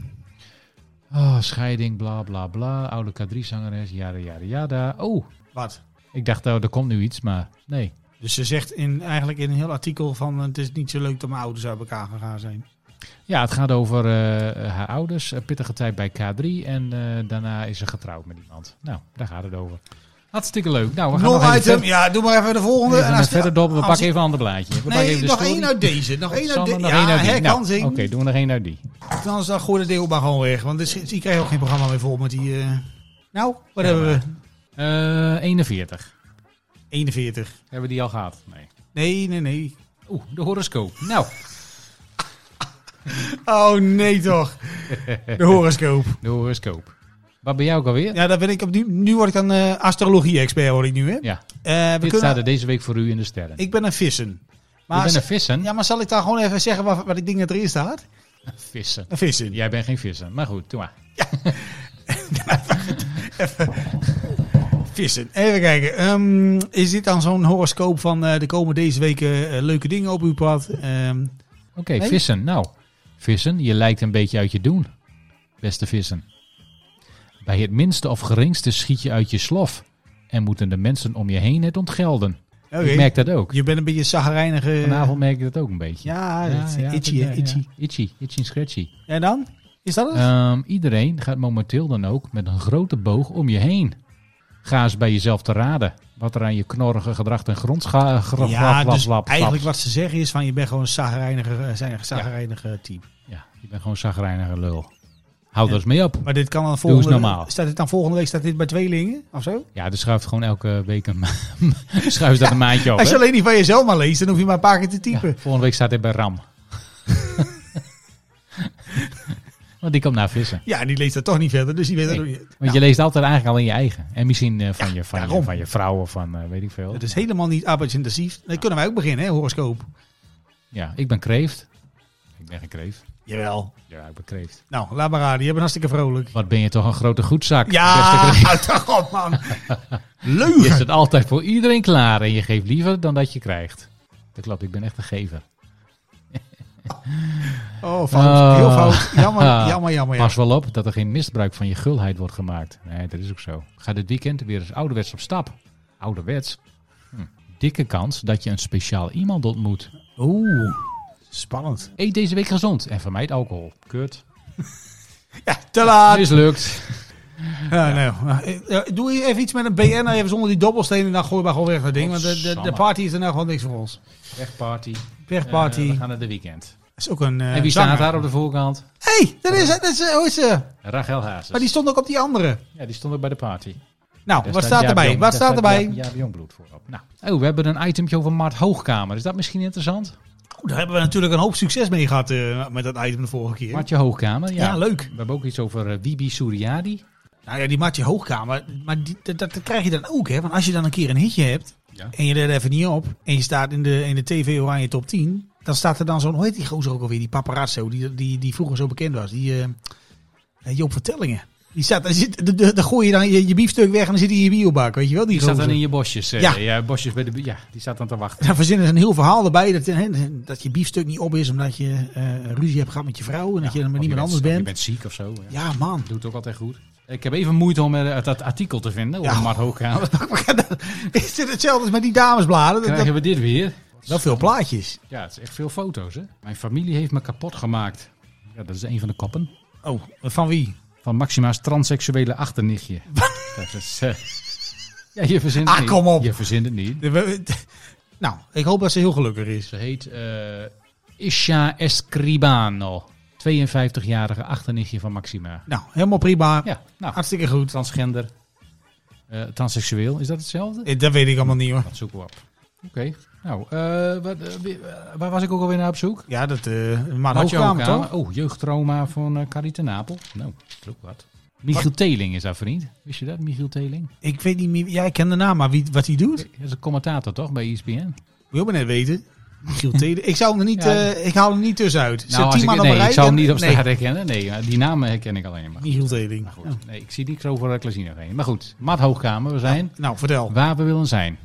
[SPEAKER 1] Oh, scheiding, bla bla bla. Oude K3-zangeres, jada jada jada. Oh,
[SPEAKER 4] Wat?
[SPEAKER 1] ik dacht, oh, er komt nu iets, maar nee.
[SPEAKER 4] Dus ze zegt in, eigenlijk in een heel artikel van... eh, het is niet zo leuk dat mijn ouders uit elkaar gegaan zijn.
[SPEAKER 1] Ja, het gaat over eh, haar ouders. eh, pittige tijd bij K3. En eh, daarna is ze getrouwd met iemand. Nou, daar gaat het over. Hartstikke leuk. Nou, we gaan nog
[SPEAKER 4] Nog
[SPEAKER 1] even,
[SPEAKER 4] item.
[SPEAKER 1] verder-
[SPEAKER 4] Ja, doe maar even de volgende.
[SPEAKER 1] even
[SPEAKER 4] als-
[SPEAKER 1] verder dobbelen. We
[SPEAKER 4] als-
[SPEAKER 1] pakken even een ander blaadje. We pakken
[SPEAKER 4] Nee,
[SPEAKER 1] even de
[SPEAKER 4] nog
[SPEAKER 1] story.
[SPEAKER 4] één uit deze. Nog één uit
[SPEAKER 1] Sander,
[SPEAKER 4] deze.
[SPEAKER 1] nog één
[SPEAKER 4] Ja,
[SPEAKER 1] uit die. Nou,
[SPEAKER 4] herkansing.
[SPEAKER 1] Oké, doen we nog één uit die.
[SPEAKER 4] Dan is dat gooi de deel maar gewoon weg. Want dus, die krijgen ook geen programma meer vol met die... eh, Nou, wat hebben we?
[SPEAKER 1] Eh, 41.
[SPEAKER 4] 41.
[SPEAKER 1] Hebben we die al gehad? Nee.
[SPEAKER 4] Nee, nee, nee.
[SPEAKER 1] Oeh, de horoscoop. Nou,
[SPEAKER 4] Oh nee toch. De horoscoop.
[SPEAKER 1] de horoscoop. Wat ben jij ook alweer?
[SPEAKER 4] Ja, daar ben ik op nu, nu word ik dan eh, astrologie-expert, hoor ik nu, hè?
[SPEAKER 1] Ja,
[SPEAKER 4] Eh, we
[SPEAKER 1] dit
[SPEAKER 4] kunnen,
[SPEAKER 1] staat er deze week voor u in de sterren. Ik
[SPEAKER 4] Ik ben een vissen. Maar,
[SPEAKER 1] ben een
[SPEAKER 4] z-
[SPEAKER 1] vissen.
[SPEAKER 4] ja, maar zal ik daar gewoon even zeggen wat, wat ik denk dat erin staat?
[SPEAKER 1] Vissen.
[SPEAKER 4] Een vissen.
[SPEAKER 1] Jij bent geen vissen, maar goed, doe maar.
[SPEAKER 4] Vissen. Even kijken. ehm, is dit dan zo'n horoscoop van eh, er komen deze week eh, leuke dingen op uw pad? Ehm,
[SPEAKER 1] Oké,
[SPEAKER 4] Nee?
[SPEAKER 1] vissen. Nou, vissen, je lijkt een beetje uit je doen. Beste vissen. Bij het minste of geringste schiet je uit je slof. En moeten de mensen om je heen het ontgelden.
[SPEAKER 4] oké.
[SPEAKER 1] Ik merk dat ook.
[SPEAKER 4] Je bent een beetje een zagrijnige...
[SPEAKER 1] Vanavond merk ik dat ook een beetje.
[SPEAKER 4] Ja, dat- itchy,
[SPEAKER 1] dat-
[SPEAKER 4] hè, itchy.
[SPEAKER 1] ja. Itchy, itchy en scratchy.
[SPEAKER 4] En dan? Is dat het?
[SPEAKER 1] Ehm, iedereen gaat momenteel dan ook met een grote boog om je heen. Ga eens bij jezelf te raden wat er aan je knorrige gedrag en grond scha- gra-
[SPEAKER 4] ja,
[SPEAKER 1] glap- glap-
[SPEAKER 4] dus
[SPEAKER 1] glap-
[SPEAKER 4] eigenlijk
[SPEAKER 1] glap.
[SPEAKER 4] wat ze zeggen is van je bent gewoon een zagrijnige, eh, zijn een zagrijnige type.
[SPEAKER 1] Ja, je bent gewoon een zagrijnige lul. Houd er eens mee op.
[SPEAKER 4] Maar dit kan dan
[SPEAKER 1] eens
[SPEAKER 4] volgende,
[SPEAKER 1] normaal.
[SPEAKER 4] Staat dit dan volgende week staat dit bij tweelingen of zo?
[SPEAKER 1] Ja, dus schuift gewoon elke week een, ma- schuift dat een maandje op.
[SPEAKER 4] Als je
[SPEAKER 1] hè?
[SPEAKER 4] alleen die van jezelf maar leest, dan hoef je maar een paar keer te typen.
[SPEAKER 1] Ja, volgende week staat hij bij Ram. Want die komt naar vissen.
[SPEAKER 4] Ja, en die leest dat toch niet verder, dus die weet dat
[SPEAKER 1] Nee,
[SPEAKER 4] ook niet.
[SPEAKER 1] Want je leest altijd eigenlijk al in je eigen. En misschien eh, van, je, van, je,
[SPEAKER 4] daarom. dus
[SPEAKER 1] van je vrouw of van eh, weet ik veel.
[SPEAKER 4] Het is helemaal niet arbeidsintensief. Dan kunnen wij ook beginnen, hè, horoscoop.
[SPEAKER 1] Ja, ik ben kreeft. Ik ben geen kreeft.
[SPEAKER 4] Jawel.
[SPEAKER 1] Ja, ik ben kreeft.
[SPEAKER 4] Nou, laat maar raden. Je bent hartstikke vrolijk.
[SPEAKER 1] Wat ben je toch een grote goedzak. beste
[SPEAKER 4] Ja,
[SPEAKER 1] kreeft.
[SPEAKER 4] houd toch op, man.
[SPEAKER 1] Je
[SPEAKER 4] Leugen.
[SPEAKER 1] zit altijd voor iedereen klaar en je geeft liever dan dat je krijgt. Dat klopt, ik ben echt een gever.
[SPEAKER 4] Oh, fout.
[SPEAKER 1] Ah.
[SPEAKER 4] Heel fout. Jammer,
[SPEAKER 1] Ah.
[SPEAKER 4] jammer, jammer. ja.
[SPEAKER 1] Pas wel op dat er geen misbruik van je gulheid wordt gemaakt. Nee, dat is ook zo. Ga dit weekend weer eens ouderwets op stap. Ouderwets? Hm. Dikke kans dat je een speciaal iemand ontmoet.
[SPEAKER 4] Oeh, spannend.
[SPEAKER 1] Eet deze week gezond en vermijd alcohol. Kut.
[SPEAKER 4] Ja, te laat.
[SPEAKER 1] Mislukt.
[SPEAKER 4] Ja, nou, eh, eh, doe je even iets met een BN even zonder die dobbelstenen en dan gooi maar gewoon weg dat ding. Want de, de, de
[SPEAKER 1] Godsamme.
[SPEAKER 4] party is er nou gewoon niks voor ons.
[SPEAKER 1] Wegparty.
[SPEAKER 4] Wegparty.
[SPEAKER 1] Eh, we gaan naar de weekend.
[SPEAKER 4] is ook een eh,
[SPEAKER 1] en wie
[SPEAKER 4] zanger.
[SPEAKER 1] staat daar op de voorkant?
[SPEAKER 4] hey, dat is, dat is, eh, hoe is ze?
[SPEAKER 1] Rachel Hazes.
[SPEAKER 4] Maar die stond ook op die andere.
[SPEAKER 1] Ja, die stond ook bij de party.
[SPEAKER 4] Nou,
[SPEAKER 1] Daar
[SPEAKER 4] wat staat
[SPEAKER 1] Jaap
[SPEAKER 4] erbij?
[SPEAKER 1] Jong-
[SPEAKER 4] Wat
[SPEAKER 1] daar
[SPEAKER 4] staat erbij?
[SPEAKER 1] Jaap- Jaap Jongbloed voorop. Nou. Oh, we hebben een itempje over Mart Hoogkamer. Is dat misschien interessant?
[SPEAKER 4] Daar hebben we natuurlijk een hoop succes mee gehad eh, met dat item de vorige keer.
[SPEAKER 1] Martje Hoogkamer,
[SPEAKER 4] ja.
[SPEAKER 1] ja.
[SPEAKER 4] leuk.
[SPEAKER 1] We hebben ook iets over eh, Wibi Suriadi.
[SPEAKER 4] Nou ja, die Martje Hoogkamer, maar die, dat, dat krijg je dan ook, hè? Want als je dan een keer een hitje hebt
[SPEAKER 1] Ja.
[SPEAKER 4] en je let even niet op en je staat in de, in de TV Oranje top 10, dan staat er dan zo'n, hoe heet die gozer ook alweer, die paparazzo, die, die, die vroeger zo bekend was, die eh, eh, Joop Vertellingen. Die staat, daar zit, de- de- daar gooi je dan je, je biefstuk weg en dan zit hij in je biobak, weet je wel? Die,
[SPEAKER 1] Die staat
[SPEAKER 4] gozer.
[SPEAKER 1] dan in je bosjes. eh,
[SPEAKER 4] Ja.
[SPEAKER 1] ja. bosjes bij de... bu- Ja, die staat dan te wachten.
[SPEAKER 4] Daar verzinnen ze een heel verhaal erbij dat, hè, dat je biefstuk niet op is omdat je eh, ruzie hebt gehad met je vrouw en dat je
[SPEAKER 1] Ja,
[SPEAKER 4] dan
[SPEAKER 1] of
[SPEAKER 4] met niemand anders
[SPEAKER 1] of Oh, Je
[SPEAKER 4] bent.
[SPEAKER 1] bent ziek of zo. Ja.
[SPEAKER 4] Ja, man.
[SPEAKER 1] Doet ook altijd goed. Ik heb even moeite om eh, dat artikel te vinden over
[SPEAKER 4] Ja.
[SPEAKER 1] Mart Hoogkamer.
[SPEAKER 4] Is dit hetzelfde als met die damesbladen? Dat-
[SPEAKER 1] Krijgen we dit weer?
[SPEAKER 4] dat- wel veel plaatjes.
[SPEAKER 1] Ja, het is echt veel foto's, hè? Mijn familie heeft me kapot gemaakt. Ja, dat is een van de koppen.
[SPEAKER 4] Oh, van wie?
[SPEAKER 1] Van Maxima's transseksuele achternichtje. dat is... eh, ja, je verzint het
[SPEAKER 4] Ah,
[SPEAKER 1] niet.
[SPEAKER 4] kom op.
[SPEAKER 1] Je verzint het niet.
[SPEAKER 4] De- we- we- Nou, ik hoop dat ze heel gelukkig is.
[SPEAKER 1] Ze heet eh Isha Escribano. 52-jarige achternichtje van Maxima.
[SPEAKER 4] Nou, helemaal prima.
[SPEAKER 1] Ja, nou,
[SPEAKER 4] Hartstikke goed.
[SPEAKER 1] transgender. eh, transseksueel, is dat hetzelfde?
[SPEAKER 4] Eh, Dat weet ik allemaal niet hoor.
[SPEAKER 1] Dat zoeken we op. Oké, nou, eh, wat, eh, wie- eh, waar was ik ook alweer naar op zoek?
[SPEAKER 4] Ja, dat eh maar
[SPEAKER 1] Had je
[SPEAKER 4] hoogkamer
[SPEAKER 1] ook
[SPEAKER 4] toch?
[SPEAKER 1] aan- Oh, jeugdtrauma van eh Carita Napel. Nou, dat is ook wat. Michiel Teling is dat vriend. Wist je dat, Michiel Teling?
[SPEAKER 4] Ik weet niet meer. Ja, ik ken de naam, maar wie, wat hij doet?
[SPEAKER 1] Dat is een commentator toch, bij E ESPN?
[SPEAKER 4] Wil je net weten? Michiel Tede. Ik zou hem er niet.
[SPEAKER 1] Ja.
[SPEAKER 4] eh, ik haal hem niet tussenuit. Zet
[SPEAKER 1] Nou,
[SPEAKER 4] tien
[SPEAKER 1] als ik,
[SPEAKER 4] man op een
[SPEAKER 1] nee,
[SPEAKER 4] rij
[SPEAKER 1] ik zou hem
[SPEAKER 4] en-
[SPEAKER 1] niet op
[SPEAKER 4] nee,
[SPEAKER 1] straat herkennen. Nee, maar die namen herken ik alleen maar.
[SPEAKER 4] Michiel Teding.
[SPEAKER 1] Goed, nee, ik zie niks over eh, Klazino heen. Maar goed, Maat Hoogkamer, we zijn
[SPEAKER 4] Nou, vertel.
[SPEAKER 1] waar we willen zijn.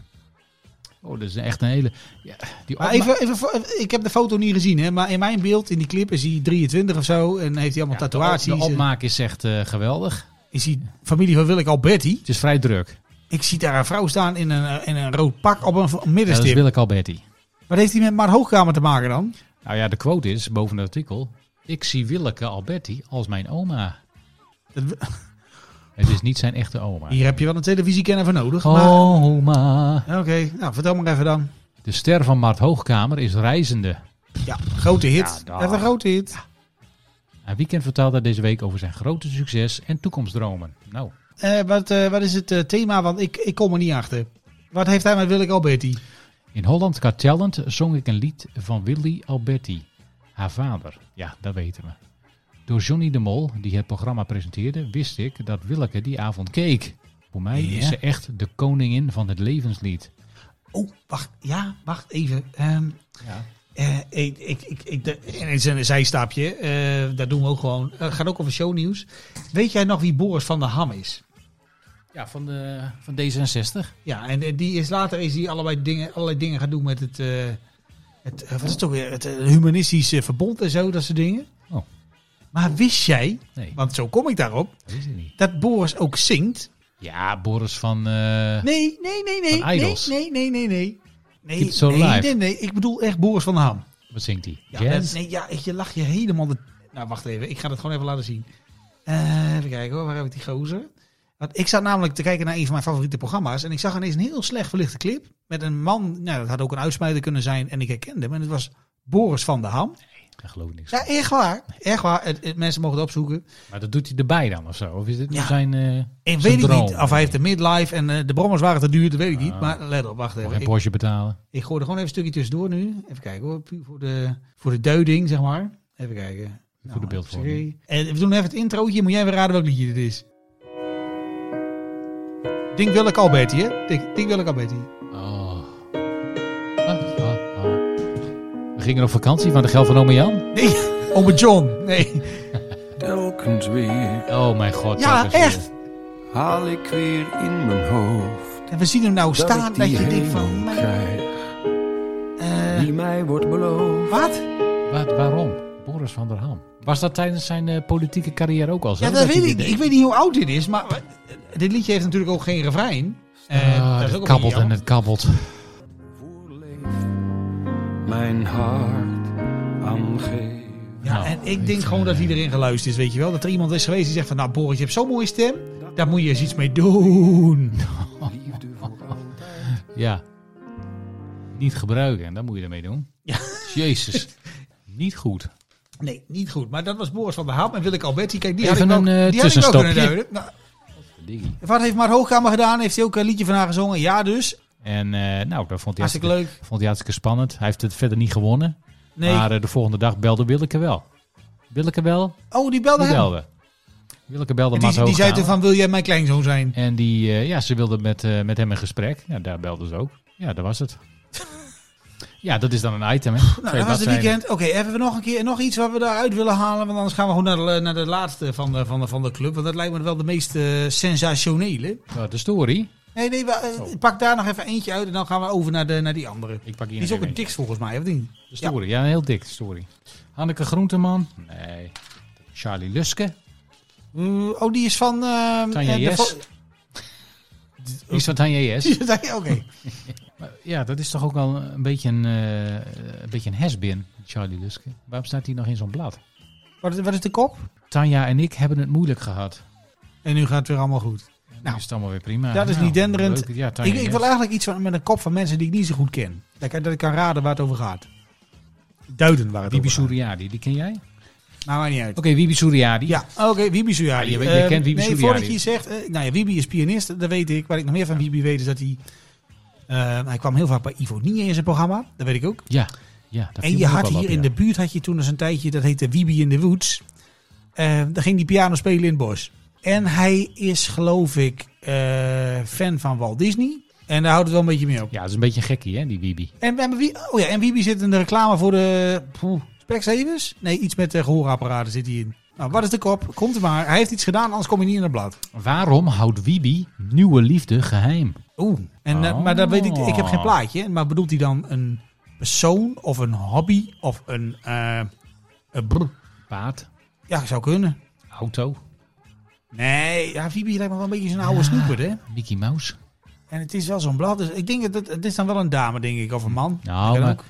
[SPEAKER 1] Oh, dat is echt een hele... Ja, die
[SPEAKER 4] Maar
[SPEAKER 1] opma-
[SPEAKER 4] even, even, voor- ik heb de foto niet gezien, hè? maar in mijn beeld, in die clip, is hij 23 of zo en heeft hij
[SPEAKER 1] ja,
[SPEAKER 4] allemaal
[SPEAKER 1] de op-
[SPEAKER 4] tatoeages.
[SPEAKER 1] De opmaak is echt eh, geweldig.
[SPEAKER 4] Is hij familie van Willeke Alberti?
[SPEAKER 1] Het is vrij druk.
[SPEAKER 4] Ik zie daar een vrouw staan in een, eh, in een rood pak op een v-
[SPEAKER 1] Ja, dat
[SPEAKER 4] middenstip.
[SPEAKER 1] is Willeke Alberti.
[SPEAKER 4] Wat heeft hij met Mar Hoogkamer te maken dan?
[SPEAKER 1] Nou ja, de quote is, boven het artikel... Ik zie Willeke Alberti als mijn oma.
[SPEAKER 4] Dat we-
[SPEAKER 1] Het is niet zijn echte oma.
[SPEAKER 4] Hier heb je wel een televisiekenner voor nodig. Maar...
[SPEAKER 1] Oh. Oma.
[SPEAKER 4] Oké, nou vertel maar even dan.
[SPEAKER 1] De ster van Mart Hoogkamer is reizende.
[SPEAKER 4] Ja, grote hit.
[SPEAKER 1] Ja, daar.
[SPEAKER 4] Echt een grote hit.
[SPEAKER 1] Een weekend vertelde deze week over zijn grote succes en toekomstdromen. Nou,
[SPEAKER 4] Eh, wat, eh, wat is het eh, thema? Want ik, ik kom er niet achter. Wat heeft hij met Willeke Alberti?
[SPEAKER 1] in Holland Got Talent zong ik een lied van Willy Alberti, haar vader. Ja, dat weten we. Door Johnny de Mol, die het programma presenteerde, wist ik dat Willeke die avond keek. Voor mij
[SPEAKER 4] Ja.
[SPEAKER 1] is ze echt de koningin van het levenslied.
[SPEAKER 4] Oh, wacht. Ja, wacht even. Ehm,
[SPEAKER 1] Ja.
[SPEAKER 4] eh, ik, ik, ik, ik, de- en het is een zijstapje. Eh dat doen we ook gewoon. Het gaat ook over shownieuws. Weet jij nog wie Boris van der Ham is?
[SPEAKER 1] Ja, van, de, van D66.
[SPEAKER 4] Ja, en eh, die is later is die allebei dingen, allerlei dingen gaan doen met het, eh, het eh, wat is het ook weer, het eh, humanistisch eh, verbond en zo, dat soort dingen.
[SPEAKER 1] Oh.
[SPEAKER 4] Maar wist jij,
[SPEAKER 1] Nee,
[SPEAKER 4] want zo kom ik daarop,
[SPEAKER 1] dat is het niet.
[SPEAKER 4] dat Boris ook zingt?
[SPEAKER 1] Ja, Boris van... eh,
[SPEAKER 4] Nee, nee, nee, nee,
[SPEAKER 1] Van
[SPEAKER 4] nee,
[SPEAKER 1] Idols.
[SPEAKER 4] nee, nee, nee, nee. Nee,
[SPEAKER 1] Keep it so
[SPEAKER 4] nee,
[SPEAKER 1] alive.
[SPEAKER 4] nee, nee, ik bedoel echt Boris van der Ham.
[SPEAKER 1] Wat zingt hij?
[SPEAKER 4] Ja, dat- nee, ja, echt, je lacht je helemaal de... Nou, wacht even, ik ga dat gewoon even laten zien. Eh, even kijken hoor, waar heb ik die gozer? Want ik zat namelijk te kijken naar een van mijn favoriete programma's en ik zag ineens een heel slecht verlichte clip met een man, nou dat had ook een uitsmijter kunnen zijn en ik herkende hem en het was Boris van der Ham.
[SPEAKER 1] Daar geloof ik niks
[SPEAKER 4] Ja,
[SPEAKER 1] van.
[SPEAKER 4] echt waar. Echt waar. Het- het- mensen mogen het opzoeken.
[SPEAKER 1] Maar dat doet hij erbij dan of zo? Of is dit nu
[SPEAKER 4] Ja.
[SPEAKER 1] zijn... eh
[SPEAKER 4] Ik
[SPEAKER 1] Zijn
[SPEAKER 4] weet ik
[SPEAKER 1] droom.
[SPEAKER 4] niet of hij heeft de midlife en eh, de brommers waren te duur, dat weet ik niet.
[SPEAKER 1] Ah.
[SPEAKER 4] Maar let op, wacht
[SPEAKER 1] mag
[SPEAKER 4] even.
[SPEAKER 1] geen
[SPEAKER 4] Ik,
[SPEAKER 1] Porsche betalen?
[SPEAKER 4] ik gooi er gewoon even een stukje tussendoor nu. Even kijken hoor, puur voor de, voor de duiding, zeg maar. Even kijken. Nou,
[SPEAKER 1] de beeldvorming.
[SPEAKER 4] sorry. En we doen even het introotje, moet jij weer raden welk liedje dit is. Dink Willeke Alberti, hè? Dink, Dink Willeke Alberti.
[SPEAKER 1] Oh. Ah, ah, ah. We gingen op vakantie van de geld van oma Jan.
[SPEAKER 4] Nee, Ome Oh, John. Nee.
[SPEAKER 5] Telkens weer
[SPEAKER 1] Oh mijn god.
[SPEAKER 4] Ja,
[SPEAKER 1] dat is weer-
[SPEAKER 4] echt.
[SPEAKER 5] haal ik weer in mijn hoofd
[SPEAKER 4] En we zien hem nou
[SPEAKER 5] dat
[SPEAKER 4] staan
[SPEAKER 5] ik die
[SPEAKER 4] dat je denkt
[SPEAKER 5] hemel
[SPEAKER 4] van...
[SPEAKER 5] krijg
[SPEAKER 4] eh,
[SPEAKER 5] die mij wordt beloofd.
[SPEAKER 4] wat?
[SPEAKER 1] Waar- waarom? Boris van der Ham. Was dat tijdens zijn eh, politieke carrière ook al zo?
[SPEAKER 4] Ja, dat
[SPEAKER 1] hij
[SPEAKER 4] weet ik.
[SPEAKER 1] dit
[SPEAKER 4] niet.
[SPEAKER 1] deed?
[SPEAKER 4] Ik weet niet hoe oud dit is, maar eh, dit liedje heeft natuurlijk ook geen refrein. Eh,
[SPEAKER 1] Ah,
[SPEAKER 4] dat is
[SPEAKER 1] het
[SPEAKER 4] ook een
[SPEAKER 1] kabbelt
[SPEAKER 4] beetje
[SPEAKER 1] en
[SPEAKER 4] jammer.
[SPEAKER 1] het kabbelt.
[SPEAKER 5] Voorleef mijn hart aan geef.
[SPEAKER 4] Ja,
[SPEAKER 1] Nou,
[SPEAKER 4] en ik
[SPEAKER 1] ik,
[SPEAKER 4] denk gewoon dat
[SPEAKER 1] eh,
[SPEAKER 4] iedereen geluisterd is, weet je wel. Dat er iemand is geweest die zegt van, nou Boris, je hebt zo'n mooie stem. Daar moet je eens iets mee doen.
[SPEAKER 5] liefde voor altijd.
[SPEAKER 1] Ja. Niet gebruiken, en dat moet je ermee doen.
[SPEAKER 4] Ja.
[SPEAKER 1] Jezus. Niet goed.
[SPEAKER 4] Nee, niet goed. Maar dat was Boris van der Ham en Willeke Alberti. Kijk, die
[SPEAKER 1] Even
[SPEAKER 4] had ik wel-
[SPEAKER 1] een, eh,
[SPEAKER 4] die had ik wel kunnen
[SPEAKER 1] tussenstopje.
[SPEAKER 4] duiden. Nou,
[SPEAKER 1] Diggie.
[SPEAKER 4] wat heeft Maart Hoogkamer gedaan? Heeft hij ook een liedje van haar gezongen? Ja, dus.
[SPEAKER 1] En eh, nou, dat vond hij,
[SPEAKER 4] Hartstikke
[SPEAKER 1] hartstikke,
[SPEAKER 4] leuk.
[SPEAKER 1] vond hij hartstikke spannend. Hij heeft het verder niet gewonnen.
[SPEAKER 4] Nee.
[SPEAKER 1] Maar eh, de volgende dag belde Willeke wel. Willeke wel,
[SPEAKER 4] oh, die belde
[SPEAKER 1] die
[SPEAKER 4] hem.
[SPEAKER 1] belde. Willeke belde
[SPEAKER 4] Die,
[SPEAKER 1] Maas
[SPEAKER 4] die zei
[SPEAKER 1] Hoogkamer.
[SPEAKER 4] toen van, wil jij mijn kleinzoon zijn? Nou,
[SPEAKER 1] En die, eh, ja, ze wilde met, eh, met hem in gesprek. Ja, daar belden ze ook. Ja, daar was het. ja, dat is dan een item, hè.
[SPEAKER 4] Nou,
[SPEAKER 1] Twee
[SPEAKER 4] dat was het
[SPEAKER 1] bladzijden.
[SPEAKER 4] weekend. Oké, hebben we nog een keer nog iets wat we daaruit willen halen? Want anders gaan we gewoon naar de, naar de laatste van de, van, de, van de club. Want dat lijkt me wel de meest eh, sensationele.
[SPEAKER 1] Nou, de story.
[SPEAKER 4] Nee, nee, we- eh,
[SPEAKER 1] Oh.
[SPEAKER 4] pak daar nog even eentje uit en dan gaan we over naar, de, naar die andere.
[SPEAKER 1] Ik pak hier
[SPEAKER 4] Die
[SPEAKER 1] nog
[SPEAKER 4] is ook het
[SPEAKER 1] even
[SPEAKER 4] dikst volgens mij, of niet?
[SPEAKER 1] De story, ja. een heel dik story. Hanneke Groenteman. Nee. Charlie Luske.
[SPEAKER 4] Eh, oh, die is van... ehm,
[SPEAKER 1] Tanja
[SPEAKER 4] eh, de
[SPEAKER 1] Yes.
[SPEAKER 4] vo-
[SPEAKER 1] Die is van Tanja Yes.
[SPEAKER 4] Oké.
[SPEAKER 1] Maar Ja, dat is toch ook wel een beetje een, eh, een, beetje een has-been, Charlie Luske. Waarom staat hij nog in zo'n blad?
[SPEAKER 4] Wat, wat is de kop?
[SPEAKER 1] Tanja en ik hebben het moeilijk gehad.
[SPEAKER 4] En nu gaat het weer allemaal goed.
[SPEAKER 1] Nou,
[SPEAKER 4] Nou,
[SPEAKER 1] is het allemaal weer prima.
[SPEAKER 4] dat is
[SPEAKER 1] Nou,
[SPEAKER 4] niet denderend.
[SPEAKER 1] leuk. Ja, Tanja
[SPEAKER 4] Ik, ik
[SPEAKER 1] Yes.
[SPEAKER 4] wil eigenlijk iets van, met een kop van mensen die ik niet zo goed ken. Dat ik, dat ik kan raden waar het over gaat. Duiden waar het
[SPEAKER 1] Bibi
[SPEAKER 4] over gaat.
[SPEAKER 1] Suriadi, die ken jij? Oké,
[SPEAKER 4] Nou, maakt niet uit.
[SPEAKER 1] Wibi Suriadi.
[SPEAKER 4] Ja, oké, Wibi Sujari.
[SPEAKER 1] Ja, je weet- je
[SPEAKER 4] Eh,
[SPEAKER 1] kent Wibi
[SPEAKER 4] nee,
[SPEAKER 1] Sujari.
[SPEAKER 4] voordat je iets zegt... eh, nou ja, Wibi is pianist, dat weet ik. Waar ik nog meer van Wibi weet is dat hij... eh, hij kwam heel vaak bij Ivo Niehe in zijn programma. Dat weet ik ook.
[SPEAKER 1] Ja, ja. dat viel
[SPEAKER 4] En je
[SPEAKER 1] me ook
[SPEAKER 4] had
[SPEAKER 1] wel
[SPEAKER 4] hier
[SPEAKER 1] op, ja.
[SPEAKER 4] in de buurt had je toen eens een tijdje, dat heette Wiebe in de Woods. Eh daar ging die piano spelen in het bos. En hij is geloof ik eh, fan van Walt Disney. En daar houdt het wel een beetje mee op.
[SPEAKER 1] Ja, dat is een beetje een gekkie, hè, die Wibi.
[SPEAKER 4] En, en, wie, oh ja, en Wiebe zit in de reclame voor de poeh, Specsavers? Nee, iets met eh, gehoorapparaten zit hij in. Nou, wat is de kop? Komt er maar. Hij heeft iets gedaan, anders kom je niet in het blad.
[SPEAKER 1] Waarom houdt Wibi nieuwe liefde geheim?
[SPEAKER 4] Oeh. En, eh,
[SPEAKER 1] Oh.
[SPEAKER 4] maar dat weet ik, ik heb geen plaatje. Maar bedoelt hij dan een persoon of een hobby of een... eh, een brr?
[SPEAKER 1] Paard,
[SPEAKER 4] Ja, zou kunnen.
[SPEAKER 1] auto,
[SPEAKER 4] Nee, ja, Vibi lijkt me wel een beetje zo'n oude snoeper, hè?
[SPEAKER 1] Mickey Mouse.
[SPEAKER 4] En het is wel zo'n blad. Dus ik denk dat het, het is dan wel een dame, denk ik, of een man.
[SPEAKER 1] Nou,
[SPEAKER 4] Dat kan
[SPEAKER 1] maar
[SPEAKER 4] ook.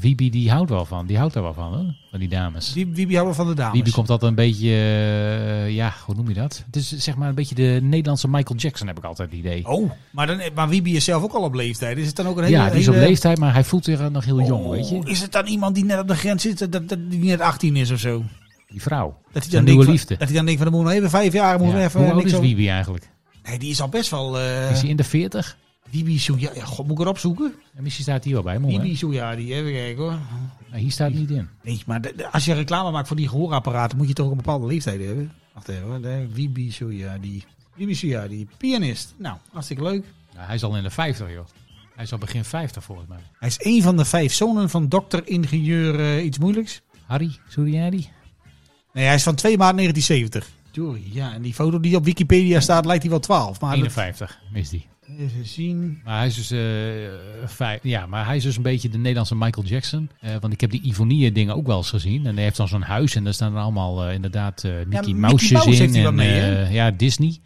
[SPEAKER 1] Wibi die houdt wel van. Die houdt er wel van, hoor. Van die dames.
[SPEAKER 4] Die, Vibi houden van de dames.
[SPEAKER 1] Wibi komt altijd een beetje, eh, ja, hoe noem je dat? Het is zeg maar een beetje de Nederlandse Michael Jackson, heb ik altijd het idee.
[SPEAKER 4] Oh, maar, dan, maar Vibi is zelf ook al op leeftijd. Is het dan ook een hele...
[SPEAKER 1] ja, die is op
[SPEAKER 4] hele-
[SPEAKER 1] leeftijd, maar hij voelt zich nog heel jong,
[SPEAKER 4] Oh,
[SPEAKER 1] weet je.
[SPEAKER 4] Is het dan iemand die net op de grens zit, dat, dat, die net 18 is of zo?
[SPEAKER 1] Die vrouw.
[SPEAKER 4] Dat hij
[SPEAKER 1] Zijn
[SPEAKER 4] dan
[SPEAKER 1] nieuwe
[SPEAKER 4] denkt van,
[SPEAKER 1] liefde.
[SPEAKER 4] Dat hij dan denkt van, dan moet nog even vijf jaar, moet
[SPEAKER 1] Ja.
[SPEAKER 4] even...
[SPEAKER 1] Hoe oud
[SPEAKER 4] niks
[SPEAKER 1] is
[SPEAKER 4] over-
[SPEAKER 1] Wibi eigenlijk?
[SPEAKER 4] Nee, die is al best wel... eh
[SPEAKER 1] Is hij in de 40?
[SPEAKER 4] Vibi Sou- Ja, ja, god, moet ik erop zoeken?
[SPEAKER 1] En misschien staat hij wel bij, mooi.
[SPEAKER 4] Vibi Soejadi, even kijken hoor.
[SPEAKER 1] hè? Nou, hier staat het niet in.
[SPEAKER 4] Nee, maar de- de- als je reclame maakt voor die gehoorapparaten, moet je toch een bepaalde leeftijd hebben. Wacht even, hoor. De Wibi Sujadi. Wibi Sujadi, pianist. Nou, hartstikke leuk.
[SPEAKER 1] Nou, hij is al in de 50, joh. Hij is al begin 50, volgens mij.
[SPEAKER 4] Hij is één van de vijf zonen van dokter-ingenieur eh, iets moeilijks.
[SPEAKER 1] Harry Suriadi?
[SPEAKER 4] Nee, hij is van 2 maart 1970. Sorry, ja, en die foto die op Wikipedia staat, lijkt hij wel 12. Maar dat-
[SPEAKER 1] 51 is die.
[SPEAKER 4] even zien.
[SPEAKER 1] Maar hij is dus, eh, vijf, ja, maar hij is dus een beetje de Nederlandse Michael Jackson. Eh, want ik heb die Ivonie dingen ook wel eens gezien. En hij heeft dan zo'n huis en daar staan er allemaal eh, inderdaad eh Mickey
[SPEAKER 4] Mickey
[SPEAKER 1] Mouse's
[SPEAKER 4] Mouse heeft
[SPEAKER 1] in.
[SPEAKER 4] hij wel
[SPEAKER 1] en,
[SPEAKER 4] mee, hè?
[SPEAKER 1] eh, ja, Disney.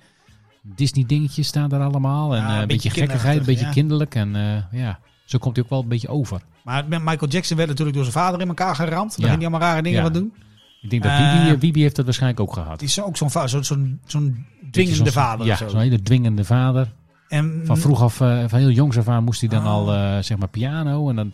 [SPEAKER 1] Disney dingetjes staan er allemaal. En
[SPEAKER 4] Ja,
[SPEAKER 1] eh,
[SPEAKER 4] een
[SPEAKER 1] een
[SPEAKER 4] beetje
[SPEAKER 1] beetje gekkigheid, een beetje
[SPEAKER 4] kinderachtig,
[SPEAKER 1] kinderlijk. En eh, ja, zo komt hij ook wel een beetje over.
[SPEAKER 4] Maar met Michael Jackson werd natuurlijk door zijn vader in elkaar geramd. Dan
[SPEAKER 1] Ja.
[SPEAKER 4] ging hij allemaal rare dingen
[SPEAKER 1] Ja.
[SPEAKER 4] wat doen.
[SPEAKER 1] Ik denk dat
[SPEAKER 4] Eh,
[SPEAKER 1] Wiebe, eh, Wiebe heeft dat waarschijnlijk ook gehad.
[SPEAKER 4] Het is ook zo'n va- zo'n zo'n zo'n
[SPEAKER 1] Beetje
[SPEAKER 4] dwingende
[SPEAKER 1] zo'n-
[SPEAKER 4] vader.
[SPEAKER 1] Ja,
[SPEAKER 4] of zo.
[SPEAKER 1] zo'n hele dwingende vader.
[SPEAKER 4] En
[SPEAKER 1] Van vroeg af, eh, van heel jongs af aan moest hij dan
[SPEAKER 4] Ah.
[SPEAKER 1] al, eh, zeg maar, piano. En dan